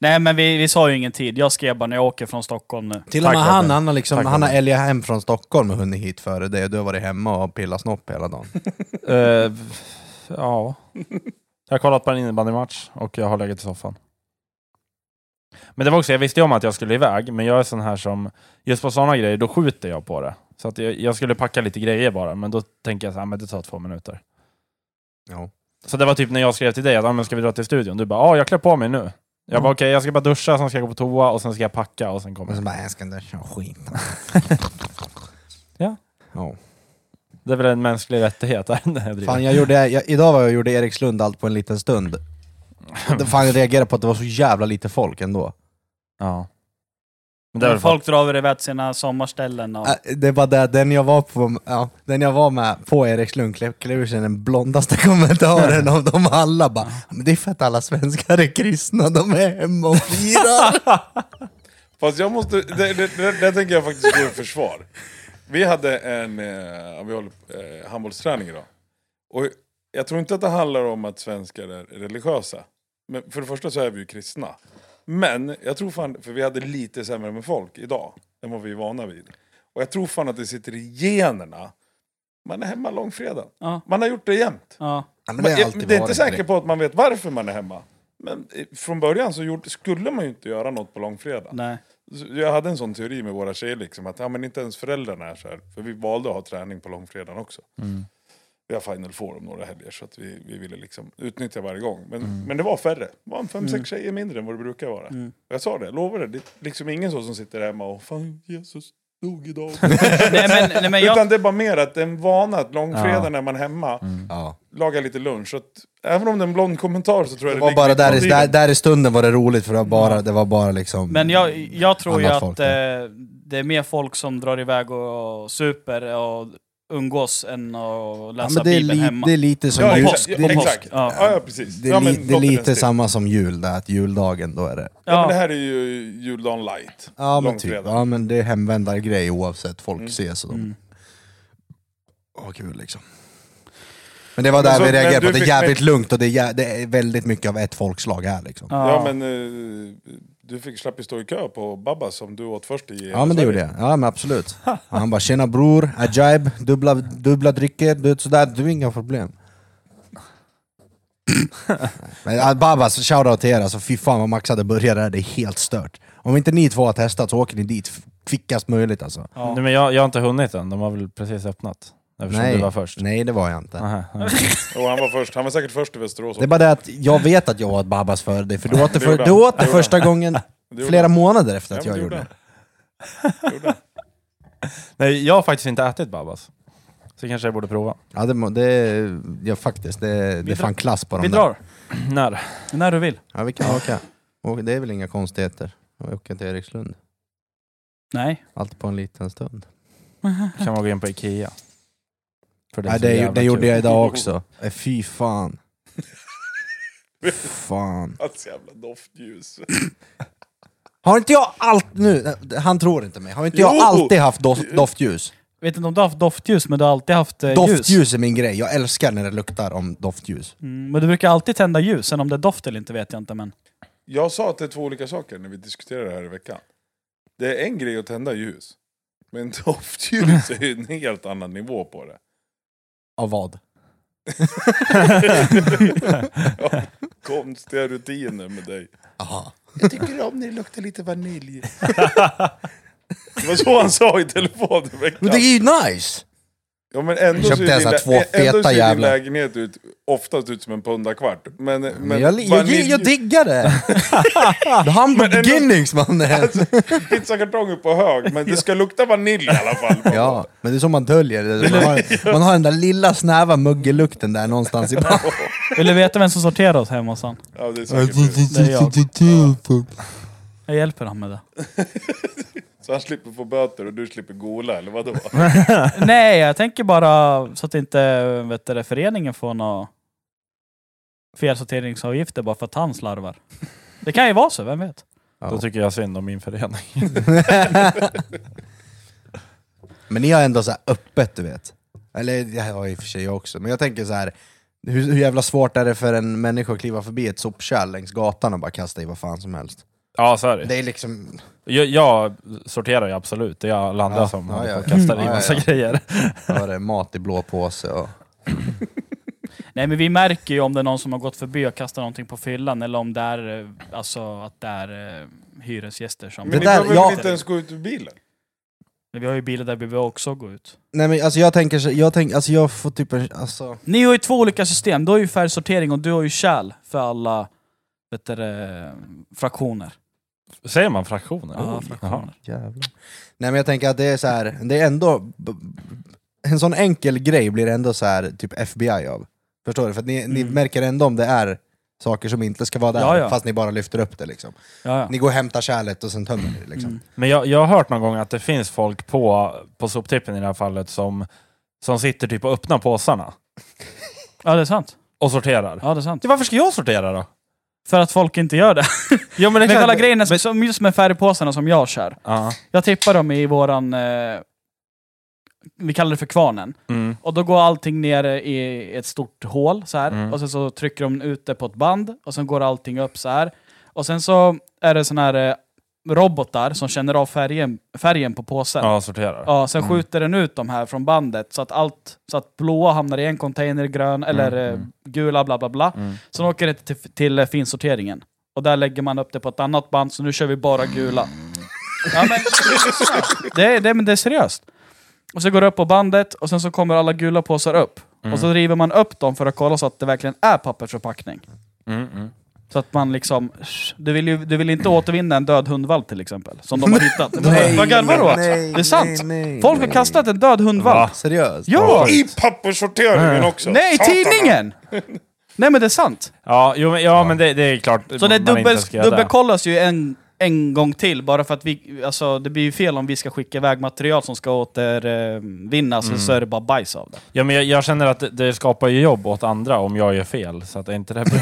Nej, men vi, vi sa ju ingen tid. Jag skrev bara när jag åker från Stockholm nu.
Till och med
Tack,
han,
Robin.
han har, liksom,
Tack,
han har
Robin.
älgat hem från Stockholm och hunnit hit före det. Du har varit hemma och pillat snopp hela dagen.
Eh, ja. Jag har kollat på en innebandymatch och jag har legat i soffan. Men det var också, jag visste ju om att jag skulle iväg, men jag är sån här som, just på sådana grejer, då skjuter jag på det. Så att jag, jag skulle packa lite grejer bara, men då tänker jag så här, "Ah, men det tar två minuter.
Ja.
Så det var typ när jag skrev till dig att, ah, men ska vi dra till studion? Du bara, ja, jag klär på mig nu. Jag bara, okej, jag ska bara duscha, sen ska jag gå på toa och sen ska jag packa och sen kommer
Och så
jag.
bara, jag ska inte köra skit.
Ja.
ja.
Det är väl en mänsklig rättighet? Här, när jag (laughs) driver.
Fan, jag gjorde, jag, idag var jag och gjorde Erikslund allt på en liten stund. Det- Fan, jag reagerade på att det var så jävla lite folk ändå.
Ja. Men det är
Där
väl folk...
folk drar väl iväg till sina sommarställen och...
Äh, Det var där, den jag var, på, ja, den jag var med på Erikslund klev klev ur sig den blondaste (laughs) kommentaren av dem alla. Bara, Men det är för att alla svenskar är kristna, de är hemma och
(laughs)
firar.
Fast jag måste, det, det, det, det tänker jag faktiskt gå i försvar. Vi hade en eh, vi håller, eh, handbollsträning idag. Och jag tror inte att det handlar om att svenskar är religiösa. Men för det första så är vi ju kristna. Men jag tror fan, för vi hade lite sämre med folk idag än vad vi är vana vid. Och jag tror fan att det sitter i generna. Man är hemma långfredag.
Ja.
Man har gjort det jämt.
Ja.
Ja, men
Men jag-
alltid
det är inte
varit
säker på att man vet varför man är hemma. Men eh, från början så gjorde, skulle man ju inte göra något på långfredag.
Nej.
Så Jag hade en sån teori med våra tjejer, liksom, att ja, men inte ens föräldrarna är så här. För vi valde att ha träning på långfredagen också.
Mm.
Vi har Final Four om några helger, så att vi, vi ville liksom utnyttja varje gång. Men,
Mm.
men det var färre. Det var en fem, sex tjejer mindre än vad det brukar vara. Och Jag sa det, jag lovar det. Det är liksom ingen så som sitter hemma och fan, Jesus
(laughs)
dog idag.
Nej, men, nej, men jag...
Utan det är bara mer att det är en vana att långfredagen är man hemma,
Ja.
lagar lite lunch. Så att, även om det är en blond kommentar så tror
Det
jag det,
var
ligger
bara
lite
där,
åt
i-
tiden.
där, där i stunden var det roligt för det var bara, det var bara liksom...
Men jag, jag tror ju
Annat
att
folk,
eh,
ja.
det är mer folk som drar iväg och, och super och umgås än att
ja,
läsa
men det, är
Bibeln
li,
hemma.
det är lite som
alltså Ja,
jul. Det
exakt.
är,
Ja,
li-
exakt.
Ja.
Ja, ja, precis.
det är,
ja,
li,
men
det är
något i den
lite
stilen.
samma som jul, där att juldagen då är det...
Ja, men det
Ja.
här är ju juldagen light.
Ja men, typ,
Långfredag.
ja men det är hemvändargrej oavsett, folk ses och de... Åh kul liksom. Men det var där
Men så-
vi reagerade
men
på,
du
att det är
fick
jävligt
med-
lugnt och det är, jä- det är väldigt mycket av ett folkslag här liksom. Ja,
Ja, men eh, du fick slapp ju stå i kö på Babba som du åt först i hela
men det
Sverige.
gjorde jag. Ja men absolut. Och han bara “tjena bror, ajaib, dubbla, dubbla drycker, du vet sådär, du inga problem”. men ja, Babas, shoutout till er alltså, fy fan vad Max hade börjat där, det är helt stört. Om inte ni två har testat så åker ni dit f- kvickast möjligt alltså.
Ja.
Nej, men jag, jag har inte hunnit än, de har väl precis öppnat? Eftersom du var först.
nej det var jag inte.
Aha, ja.
Och han var först, han var säkert först i Västerås
Det är
också.
bara det att jag vet att jag åt Babas för dig, för du åt det,
(laughs) Det
för,
gjorde
du
han.
åt det
Det gjorde
första gången
gjorde
flera månader efter
Ja,
att
men
jag gjorde
det
det. (laughs)
han. Det gjorde han.
Nej, jag har faktiskt inte ätit Babas. Så kanske jag borde prova.
Ja, det, må- det, ja faktiskt, det, det är
drar-
fan klass på dem
Vi
där.
drar.
När?
När du vill.
Ja, vi kan åka. Och det är väl inga konstigheter att åka till Erikslund. (laughs)
Nej.
Allt på en liten stund.
Kan man gå in på Ikea? För
Det, ja,
så
det,
jävla
det
kul.
gjorde jag idag också. Eh, Fy fan. (laughs) fan.
Hans jävla doftljus.
Har inte jag allt nu, han tror inte mig, har inte jag
Jo!
alltid haft doft, doftljus?
Vet inte om du har haft doftljus, men du har alltid haft eh, ljus.
Doftljus är min grej, jag älskar när det luktar om doftljus.
Mm, men du brukar alltid tända ljus. Sen om det är doft eller inte vet jag inte. Men
Jag sa att det är två olika saker när vi diskuterade det här i veckan. Det är en grej att tända ljus. Men (laughs) doftljus är ju en helt annan nivå på det.
Av vad?
Ja, konstiga rutiner med dig.
Aha.
Jag tycker om när det luktar lite vanilj. Det var så han sa i telefon i
Men det
veckan.
är ju nice!
Ja, men ändå
Jag köpte
ser din,
så här
lä-
två
ändå
feta
ser din
jävlar.
lägenhet ut, oftast ut som en pundakvart. Men, men,
Men jag, jag, jag,
vanilj-
jag diggar det! (laughs) The humble
ändå-
beginnings (laughs) mannen!
Pizzakartong upp på hög, men det ska lukta vanilj i alla
(laughs)
fall.
Ja, men det är så man döljer det. Man har, man har den där lilla snäva muggelukten där någonstans i bakgrunden.
vill du veta vem som sorterar oss hemma hos han?
Ja, det är säkert det.
Det är jag. Jag hjälper honom med det.
Så han slipper få böter och du slipper gola, eller vadå?
(laughs) Nej, jag tänker bara så att inte vet du, det, föreningen får några felsorteringsavgifter bara för att han slarvar. Det kan ju vara så, vem vet?
Då
(laughs)
tycker jag synd om min förening.
Men ni har ändå så här öppet, du vet. Eller det har i och för sig jag också, men jag tänker så här. Hur, hur jävla svårt är det för en människa att kliva förbi ett sopkärl längs gatan och bara kasta i vad fan som helst?
Ja, så är det.
Det är liksom...
Jag, jag sorterar ju absolut. Det är alla andra
Ja,
som
ja,
håller på
ja,
och
ja.
kastar
Ja,
i
ja,
massa
ja.
grejer.
Vad är det, mat i blå påse och...
Nej, men vi märker ju om det är någon som har gått förbi och kastat någonting på fyllan eller om det är, eh, alltså, att det är eh, hyresgäster som...
Men
Det
ni
där-
behöver
ja.
väl inte ens gå ut ur bilen?
Vi har ju bilar där vi också går ut.
Nej men alltså jag tänker så, jag tänker, alltså jag får typ en, alltså...
Ni har ju två olika system. Du har ju färgsortering och du har ju kärl för alla vet du, det, fraktioner.
Säger man fraktioner?
Ja,
Oj,
fraktioner.
Jävlar. Nej men jag tänker att det är så här, det är ändå... b- En sån enkel grej blir ändå så här typ FBI av. Förstår du? För att ni, ni
Mm.
märker ändå om det är saker som inte ska vara där,
Ja, ja.
fast ni bara lyfter upp det liksom.
Ja, ja.
Ni går och hämtar kärlet och sen tömmer ni det liksom.
Mm.
Men jag, jag har hört någon gång att det finns folk på, på soptippen i det här fallet som, som sitter typ och öppnar påsarna
ja, det är sant.
och sorterar.
Ja, det är sant.
Ja, varför ska jag sortera då?
För att folk inte gör det.
Ja, men det
Men
kan-
kolla grejen är som just med färgpåsarna som jag kör.
Ja.
Jag tippar dem i våran... Eh, vi kallar det för kvarnen.
Mm.
Och då går allting ner i ett stort hål så här.
Mm.
Och sen så trycker de ut det på ett band. Och sen går allting upp så här. Och sen så är det såna här eh, robotar som känner av färgen, färgen på påsen.
ja, Mm. sorterar.
Ja, sen skjuter den ut de här från bandet så att allt, så att blåa hamnar i en container, grön eller
Mm,
eh,
mm.
gula, bla bla bla.
Mm.
Sen åker det till, till eh, finsorteringen. Och där lägger man upp det på ett annat band, så nu kör vi bara gula. Ja, men, det, är- det, är- men det är seriöst. Och så går det upp på bandet och sen så kommer alla gula påsar upp. Och så river man upp dem för att kolla så att det verkligen är pappersförpackning.
Mm, mm.
Så att man liksom... Du vill, ju, du vill inte återvinna en död hundvalp till exempel, som de
(laughs)
har hittat. Vad garvar du åt? Det är sant! Folk har kastat en död hundvalp.
Seriöst?
Ja!
I papperssorteringen också!
Nej,
Satan. (laughs)
tidningen! Nej men det är sant.
Ja, jo, men, ja, men det, det är klart.
Så det
man inte
dubbel,
ska göra det.
dubbelkollas ju en, en gång till bara för att vi, alltså det blir ju fel om vi ska skicka iväg material som ska återvinnas
Mm.
och så är det bara bajs av det.
Ja, men jag, jag känner att det, det skapar ju jobb åt andra om jag gör fel, så att är inte det bra?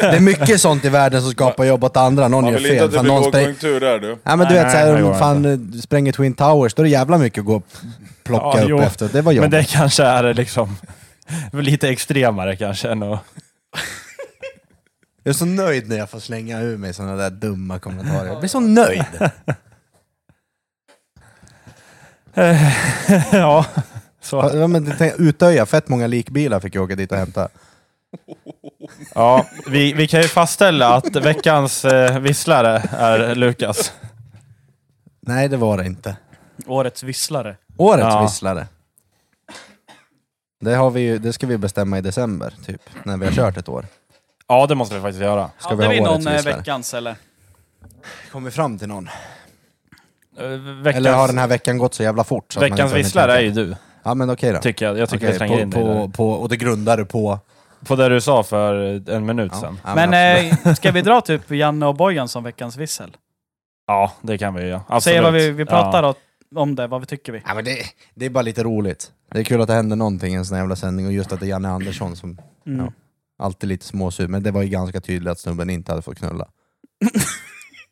Det är mycket sånt i världen som skapar jobb åt andra, någon
Man
gör
vill inte
fel.
att det
Fan,
blir
någon spräng...
lågkonjunktur där du.
Ja men du
Nej,
vet
nej,
såhär,
det
om
går
fan eh, spränger Twin Towers, då är det jävla mycket att gå och plocka
Ja,
upp
jo.
efter. Det var
men
jobbigt.
det kanske är liksom (laughs) Lite extremare kanske än att... (laughs)
Jag är så nöjd när jag får slänga ur mig sådana där dumma kommentarer. Jag blir så nöjd.
ja, så.
Ja, men det- tänk, Utöja, fett många likbilar fick jag åka dit och hämta.
Ja, vi, vi kan ju fastställa att veckans eh, visslare är Lukas.
Nej, det var det inte.
Årets visslare.
Årets
Ja.
visslare. Det, har vi ju, det ska vi bestämma i december, typ. När vi har kört ett år.
Ja, det måste vi faktiskt göra.
Ska
Hade vi,
vi ha
någon
årets
eh,
visslare?
veckans eller?
Kommer fram till någon.
Eh,
Eller har den
Veckans,
här veckan gått så jävla fort? Så att man
veckans
inte har hunnit
visslare är
tänka?
ju du,
Ja, men okej då.
tycker jag. Jag tycker
Okej,
vi slänger in
på,
dig där.
på, på, Och det grundar du på...
På det du sa för en minut
Ja,
sedan.
ja,
Men
absolut.
eh, ska vi dra typ Janne och Bojan som veckans vissel?
Ja, det kan vi ju göra. Absolut.
Säg vad vi, vi pratar
ja.
om- om det, vad vi tycker vi.
Ja, men det, det är bara lite roligt. Det är kul att det händer någonting i en sån här jävla sändning och just att det är Janne Andersson som
Mm.
Ja. alltid är lite småsur. Men det var ju ganska tydligt att snubben inte hade fått knulla.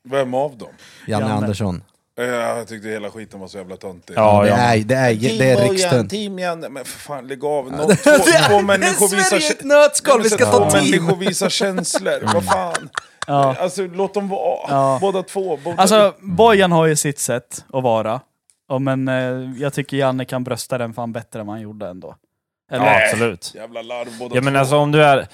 Vem av dem?
Janne,
Janne.
Andersson.
Eh, Jag tyckte hela skiten var så jävla töntig.
Ja,
det,
ja.
är, det, är, det är riksstönt.
Team Janne, men för fan lägg av. Nå, två, två människor visar...
Sverige i ett nötskal, vi ska
två
ta team!
människor visar känslor, vad fan.
Ja.
Alltså låt dem vara,
Ja.
båda två. Båda
Alltså, Bojan har ju sitt sätt att vara. Ja, men eh, jag tycker Janne kan brösta den fan bättre än vad han gjorde ändå. Eller?
Ja, absolut.
Jävla larv båda
Ja, men
två.
alltså om du är...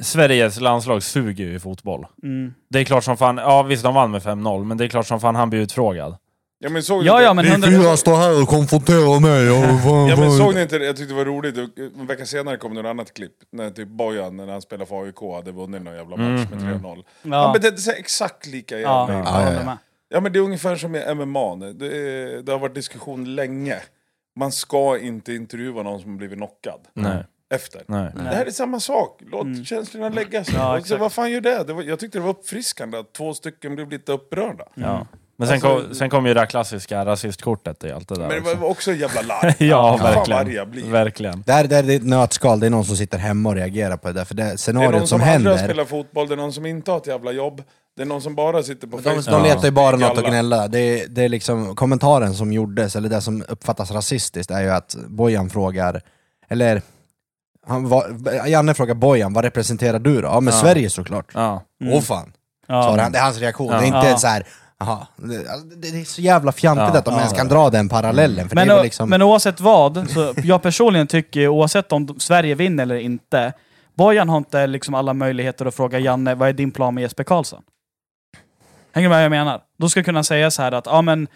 Sveriges landslag suger ju i fotboll.
Mm.
Det är klart som fan, ja visst de vann med 5-0, men det är klart som fan han blir utfrågad.
ja, men såg
Ja,
du
ja,
det?
men hundra...
står här och konfronterar mig.
Ja, men såg ni inte det? Jag tyckte det var roligt. En vecka senare kom det ett annat klipp. När typ Bojan, när han spelade för AIK, hade vunnit någon jävla match med 3-0. Han
Ja,
betedde sig exakt lika
ja,
jävla
jag
illa.
ja,
håller
ja.
med.
Ja men det är ungefär som i MMA. nu. Det, är- det har varit diskussion länge. Man ska inte intervjua någon som har blivit knockad.
Nej.
Efter.
Nej.
Det här är samma sak. Låt
Mm.
känslorna lägga sig.
Ja,
alltså,
exakt.
vad fan gör det? det var, jag tyckte det var uppfriskande att två stycken blev lite upprörda.
Ja. Men sen,
Alltså-
kom, sen kom ju det här klassiska rasistkortet i allt det där.
Men det
också.
var också en jävla larv.
Ja,
Fan vad arg jag
verkligen.
blir.
verkligen.
Där, där är det ett nötskal, det är någon som sitter hemma och reagerar på det där. För det
Det är
scenariot
någon
som,
som, aldrig har
händer,
spelat fotboll, det är någon som inte har ett jävla jobb. Det är någon som bara sitter på
de,
Facebook.
de letar ju bara något att
Galla.
gnälla. Det, är- det är liksom kommentaren som gjordes, eller det som uppfattas rasistiskt, är ju att Bojan frågar, eller han, var, Janne frågar Bojan, vad representerar du då? Ja Mm. men Sverige såklart. Åh
Ja.
fan, svarar
Ja.
han. Det är hans reaktion, det är
Ja.
inte
Ja.
så här. Aha. Det, alltså, det det är så jävla fjantigt
Ja.
att de ens kan dra den parallellen. För
Men,
det är väl
o-
liksom...
men oavsett vad, så jag personligen tycker ju, oavsett om de- Sverige vinner eller inte, Bojan har inte liksom alla möjligheter att fråga Janne, vad är din plan med Jesper Karlsson? Hänger du med vad jag menar? Då ska jag kunna säga så här att, ja men,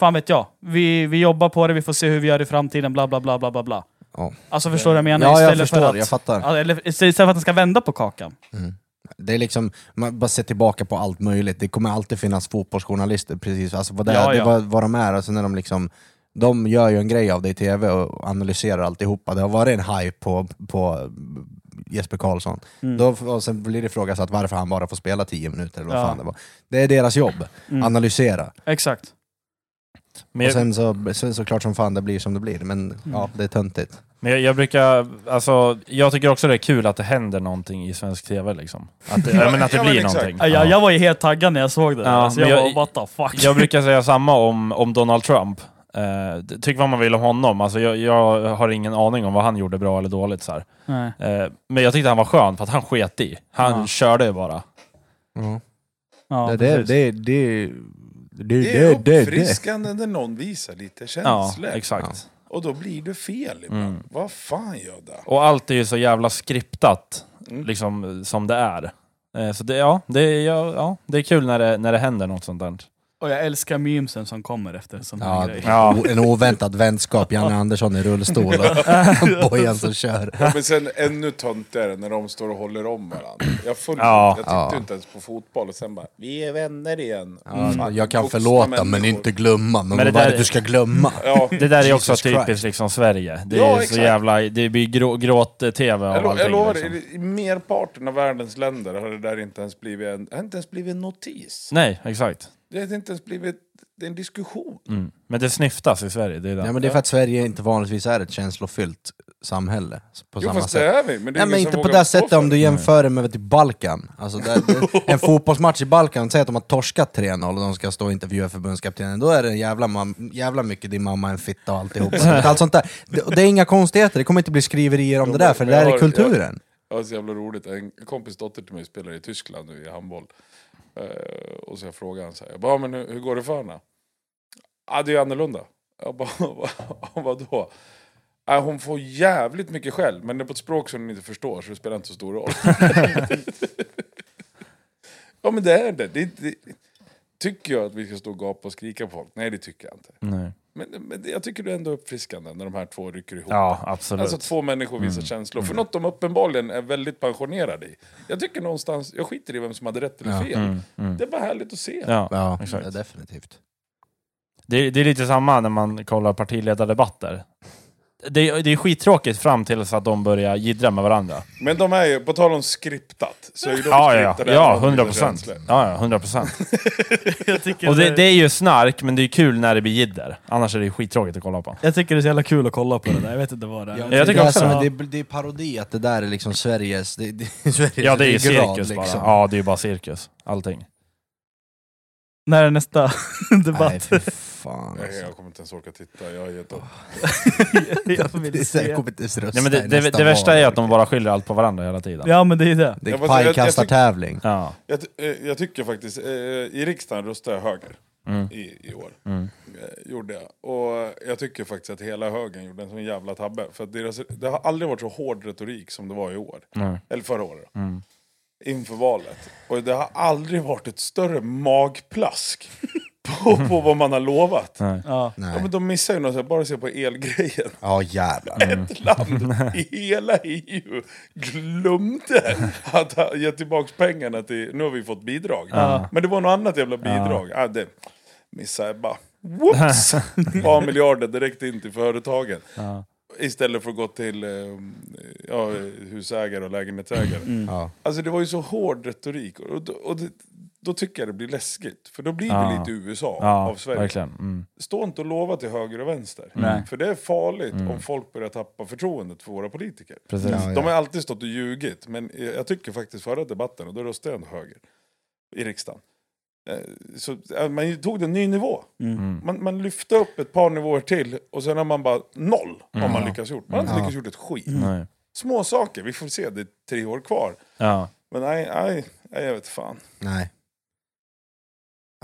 fan vet jag, vi, vi jobbar på det, vi får se hur vi gör i framtiden, bla bla bla bla bla bla.
Ja.
Alltså förstår du vad jag menar?
ja, jag
Istället för
förstår,
att-
jag fattar.
Ja, Eller istället för att den ska vända på kakan.
Det är liksom, man bara ser tillbaka på allt möjligt. Det kommer alltid finnas fotbollsjournalister, precis alltså vad, det
Ja,
är,
ja.
Det, vad, vad de är. Alltså när de, liksom, de gör ju en grej av det i tv och analyserar alltihopa. Det har varit en hype på, på Jesper Karlsson.
Mm.
Då, och sen blir det ifrågasatt varför han bara får spela 10 minuter eller vad
Ja.
fan det var. Det är deras jobb, analysera.
Mm. Exakt.
Men
Och
jag,
sen så, sen såklart som fan det blir som det blir, men
Mm.
ja, det är töntigt.
men jag, jag brukar, alltså, jag tycker också det är kul att det händer någonting i svensk tv liksom. Att det, ja, men att det
Ja, men
blir
exakt.
någonting.
Ja. Jag, jag var ju helt taggad när jag såg det. där.
Ja,
alltså, jag,
men
bara,
jag-
what the fuck.
Jag brukar säga samma om, om Donald Trump. Eh, tyck vad man vill om honom, alltså, jag, jag har ingen aning om vad han gjorde bra eller dåligt. Så här.
Nej.
Eh, men jag tyckte han var skön för att han sket i. Han
Ja.
körde bara.
Ja,
det, det,
precis.
det, det, det,
Det
det,
är
det, det.
uppfriskande när någon visar lite
Ja,
känslor.
exakt. Mm.
och då blir det fel ibland. Vad fan gör det?
Och allt är ju så jävla skriptat,
Mm.
liksom som det är. Eh, så det, ja, det, är- ja, ja, det är kul när det, när det händer något sånt där.
Och jag älskar memesen som kommer efter en sån här
Ja,
grej.
Ja.
o- En oväntad vänskap, Janne Andersson i rullstol
(laughs)
och Bojan som kör.
Ja, Men sen ännu töntigare när de står och håller om varandra. Jag, full,
Ja,
jag tittade
ja.
inte ens på fotboll och sen bara, vi är vänner igen. Mm.
Ja,
Fan,
jag kan
vuxna
förlåta
människor.
men inte glömma. Men,
Men det
vad är
där
det
är-
du ska glömma?
Ja,
Det där är ju också
Jesus Christ.
typiskt liksom Sverige. Det är
Ja,
så
exakt. jävla-
jävla... Det blir gråt-tv av
jag, lo-
allting. liksom.
jag lovar,
liksom.
i- i merparten av världens länder har det där inte ens blivit en, har inte ens blivit en notis.
Nej, exakt.
Det har inte ens blivit det är en diskussion.
Mm. Men det snyftas i Sverige, det är det.
Ja, men det är för att Sverige inte vanligtvis är ett känslofyllt samhälle. s- På
Jo
samma
fast det
sätt.
är vi, men det
Nej
är
men
ingen som
inte på
vågar
det
stå
sättet
för
om du jämför det med typ Balkan. Alltså där,
(laughs)
en fotbollsmatch i Balkan, säg att de har torskat 3-0 och de ska stå och intervjua förbundskaptenen, då är det en jävla, mam- jävla mycket din mamma är en fitta och
(laughs)
alltihop. Allt sånt där. Det, och det är inga konstigheter, det kommer inte bli skriverier om det där, för det
men jag
där är
har-
kulturen.
Ja, det är så jävla roligt. En kompis dotter till mig spelar i Tyskland nu i handboll. Eh, och så jag frågade han så här, jag bara, "Ja, men hur, hur går det för henne? Ja, det är ju annorlunda. Jag bara, (laughs) "Vad- vadå? Ja, hon får jävligt mycket skäll, men det är på ett språk som hon inte förstår så det spelar inte så stor roll. (laughs) ja men det är det. det, är inte- det tycker jag att vi ska stå och gapa och skrika på folk? Nej det tycker jag inte.
Nej.
Men, men det- jag tycker det är ändå uppfriskande när de här två rycker ihop.
Ja, absolut. Mm.
Alltså två människor visar känslor för något de uppenbarligen är väldigt pensionerade i. Jag tycker någonstans, jag skiter i vem som hade rätt eller
Ja.
fel.
mm, mm.
Det är bara härligt att se.
Ja.
Ja,
exakt.
ja, definitivt.
Det, det är lite samma när man kollar partiledardebatter. Det, det är skittråkigt fram tills att de börjar jiddra med varandra.
Men de är ju, på tal om skriptat, så är ju de
Ja, ja, ja.
skriptade även
ja,
om de visar
100 procent.
känslor.
Ja, ja, 100 procent.
Jag tycker,
Och det, det
det,
är ju snark, men det är kul när det blir jidder. Annars är det skittråkigt att kolla på.
jag tycker det är så jävla kul att kolla på det där, jag vet inte vad det är.
jag tycker
det, är
också
som-
det.
det, är- det är parodi att det där är liksom Sveriges... Det, det, Sveriges liksom.
Ja, det är ju
ryggrad,
cirkus bara. Ja, det är ju bara cirkus. Allting.
När är nästa (laughs) debatt?
Nej, för fan
Nej,
alltså.
jag kommer inte ens orka titta, jag har gett upp.
(laughs) jag vill
Det är- jag
se.
kommer inte ens rösta
Nej, men det,
i
det,
nästa
det värsta
val.
är att de bara skyller allt på varandra hela tiden.
Ja men det är det.
Det
Ja,
är
fast jag- jag
pajkastartävling.
Ja.
Jag, ty- eh, jag tycker faktiskt, eh, i riksdagen röstar jag höger
Mm.
i, i år.
Mm.
Eh, gjorde jag. Och jag tycker faktiskt att hela högern gjorde en sån jävla tabbe. För att deras, det har aldrig varit så hård retorik som det var i år.
Nej.
Eller förra året.
Mm.
inför valet. Och det har aldrig varit ett större magplask (laughs) på, på vad man har lovat.
Nej.
Ja.
Ja, men
Nej.
de missar ju något, så här, bara se på elgrejen.
Ja jävlar.
Ett (laughs) land i hela EU glömde att ha- ge tillbaka pengarna till... Nu har vi fått bidrag. Men det var något annat jävla bidrag. Ja. det missade jag bara.
(laughs)
Whoops! Ett par miljarder direkt in till företagen.
Ja.
Istället för att gå till eh, ja, husägare och lägenhetsägare.
Mm.
Ja.
Alltså det var ju så hård retorik. Och, då- och det, då tycker jag det blir läskigt. För då blir
Ja.
det lite USA av
Ja,
Sverige.
verkligen. Mm.
Stå inte och lova till höger och vänster.
Nej.
För det är farligt om folk börjar tappa förtroendet för våra politiker.
Precis.
Ja,
De har alltid stått och ljugit. Men eh, jag tycker faktiskt förra debatten, och då röstade jag ändå höger i riksdagen. Eh, Så eh, man tog det en ny nivå.
Mm.
Man, man lyfte upp ett par nivåer till och sen har man bara noll har man lyckats gjort. Man har inte
Ja.
lyckats gjort ett skit.
Nej.
Små saker, vi får se, det är tre år kvar.
Ja.
Men nej, nej, nej jag vet fan.
Nej.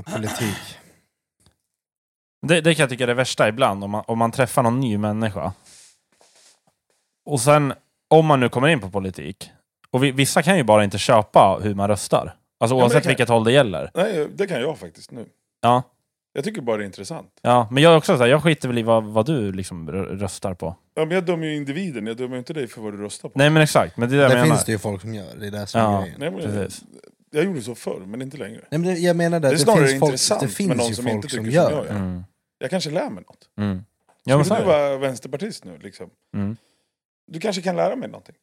Ja, Politik.
Det, det kan jag tycka är det värsta ibland, om man, om man träffar någon ny människa. Och sen, om man nu kommer in på politik, och vi, vissa kan ju bara inte köpa hur man röstar. Alltså
men det
oavsett
kan-
vilket håll det gäller.
Nej, det kan jag faktiskt nu.
Ja,
Jag tycker bara det är intressant.
ja. Men jag är också så här, jag skiter väl i vad, vad du liksom rö- röstar på.
Ja, men jag dömer ju individen, jag dömer ju inte dig för vad du röstar på.
Nej men exakt, men det är det,
Det
(clears throat) jag menar.
finns det ju folk som gör, det är det som är
Ja.
grejen.
Nej, men,
Precis.
jag gjorde så förr, men inte längre.
Nej, men det, jag menar det,
Det är
det,
snarare
finns folk,
intressant
det
med någon
finns ju
som
folk
inte
som
tycker
gör.
som jag gör.
Mm.
Jag kanske lär mig något.
Mm. Ja, men så
Skulle du
är det.
vara vänsterpartist nu? Liksom?
Mm.
Du kanske kan lära mig någonting.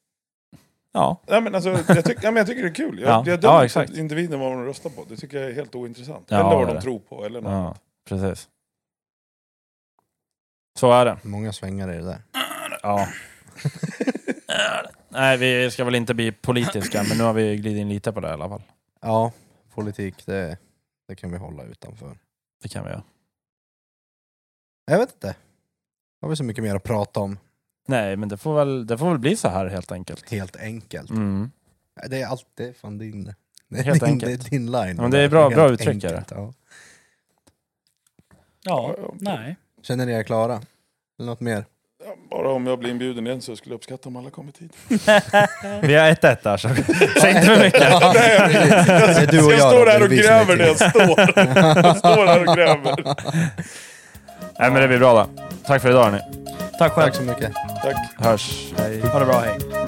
Ja.
Nej, men alltså, jag, tyck, ja, men jag tycker det är kul. Jag,
Ja.
jag dömer
Ja,
inte
exakt.
individen vad de röstar på. Det tycker jag är helt ointressant.
Ja,
eller vad
det är
de
det.
tror på. Eller något.
ja, precis. Så är det.
Många svängar i det där.
Ja. (laughs) Nej, vi ska väl inte bli politiska, men nu har vi glidit in lite på det i alla fall.
Ja, politik det, det kan vi hålla utanför.
Det kan vi göra.
Jag vet inte. Har vi så mycket mer att prata om,
Nej, men det får väl, det får väl bli så här helt enkelt.
helt enkelt.
Mm.
Det är alltid fan din... Det är
Helt
(laughs) din,
enkelt.
det är din line.
Ja, men det är bra-
Helt
bra uttryck är det.
enkelt, Ja.
Ja, nej.
Känner ni er klara? Eller något mer?
Ja, Bara om jag blir inbjuden igen så skulle jag uppskatta om alla kommit hit.
Vi har ett ett där, så (laughs) säg inte för mycket.
Ja,
jag
är du och
jag
jag,
står
Robin,
här
vi som
och
är
gräver
till.
när jag står.
(laughs)
Jag står här och gräver.
Nej, men det blir bra då. Tack för idag, hörni.
Tack själv.
Tack så mycket.
Tack.
Hörs.
Ha det bra, hej.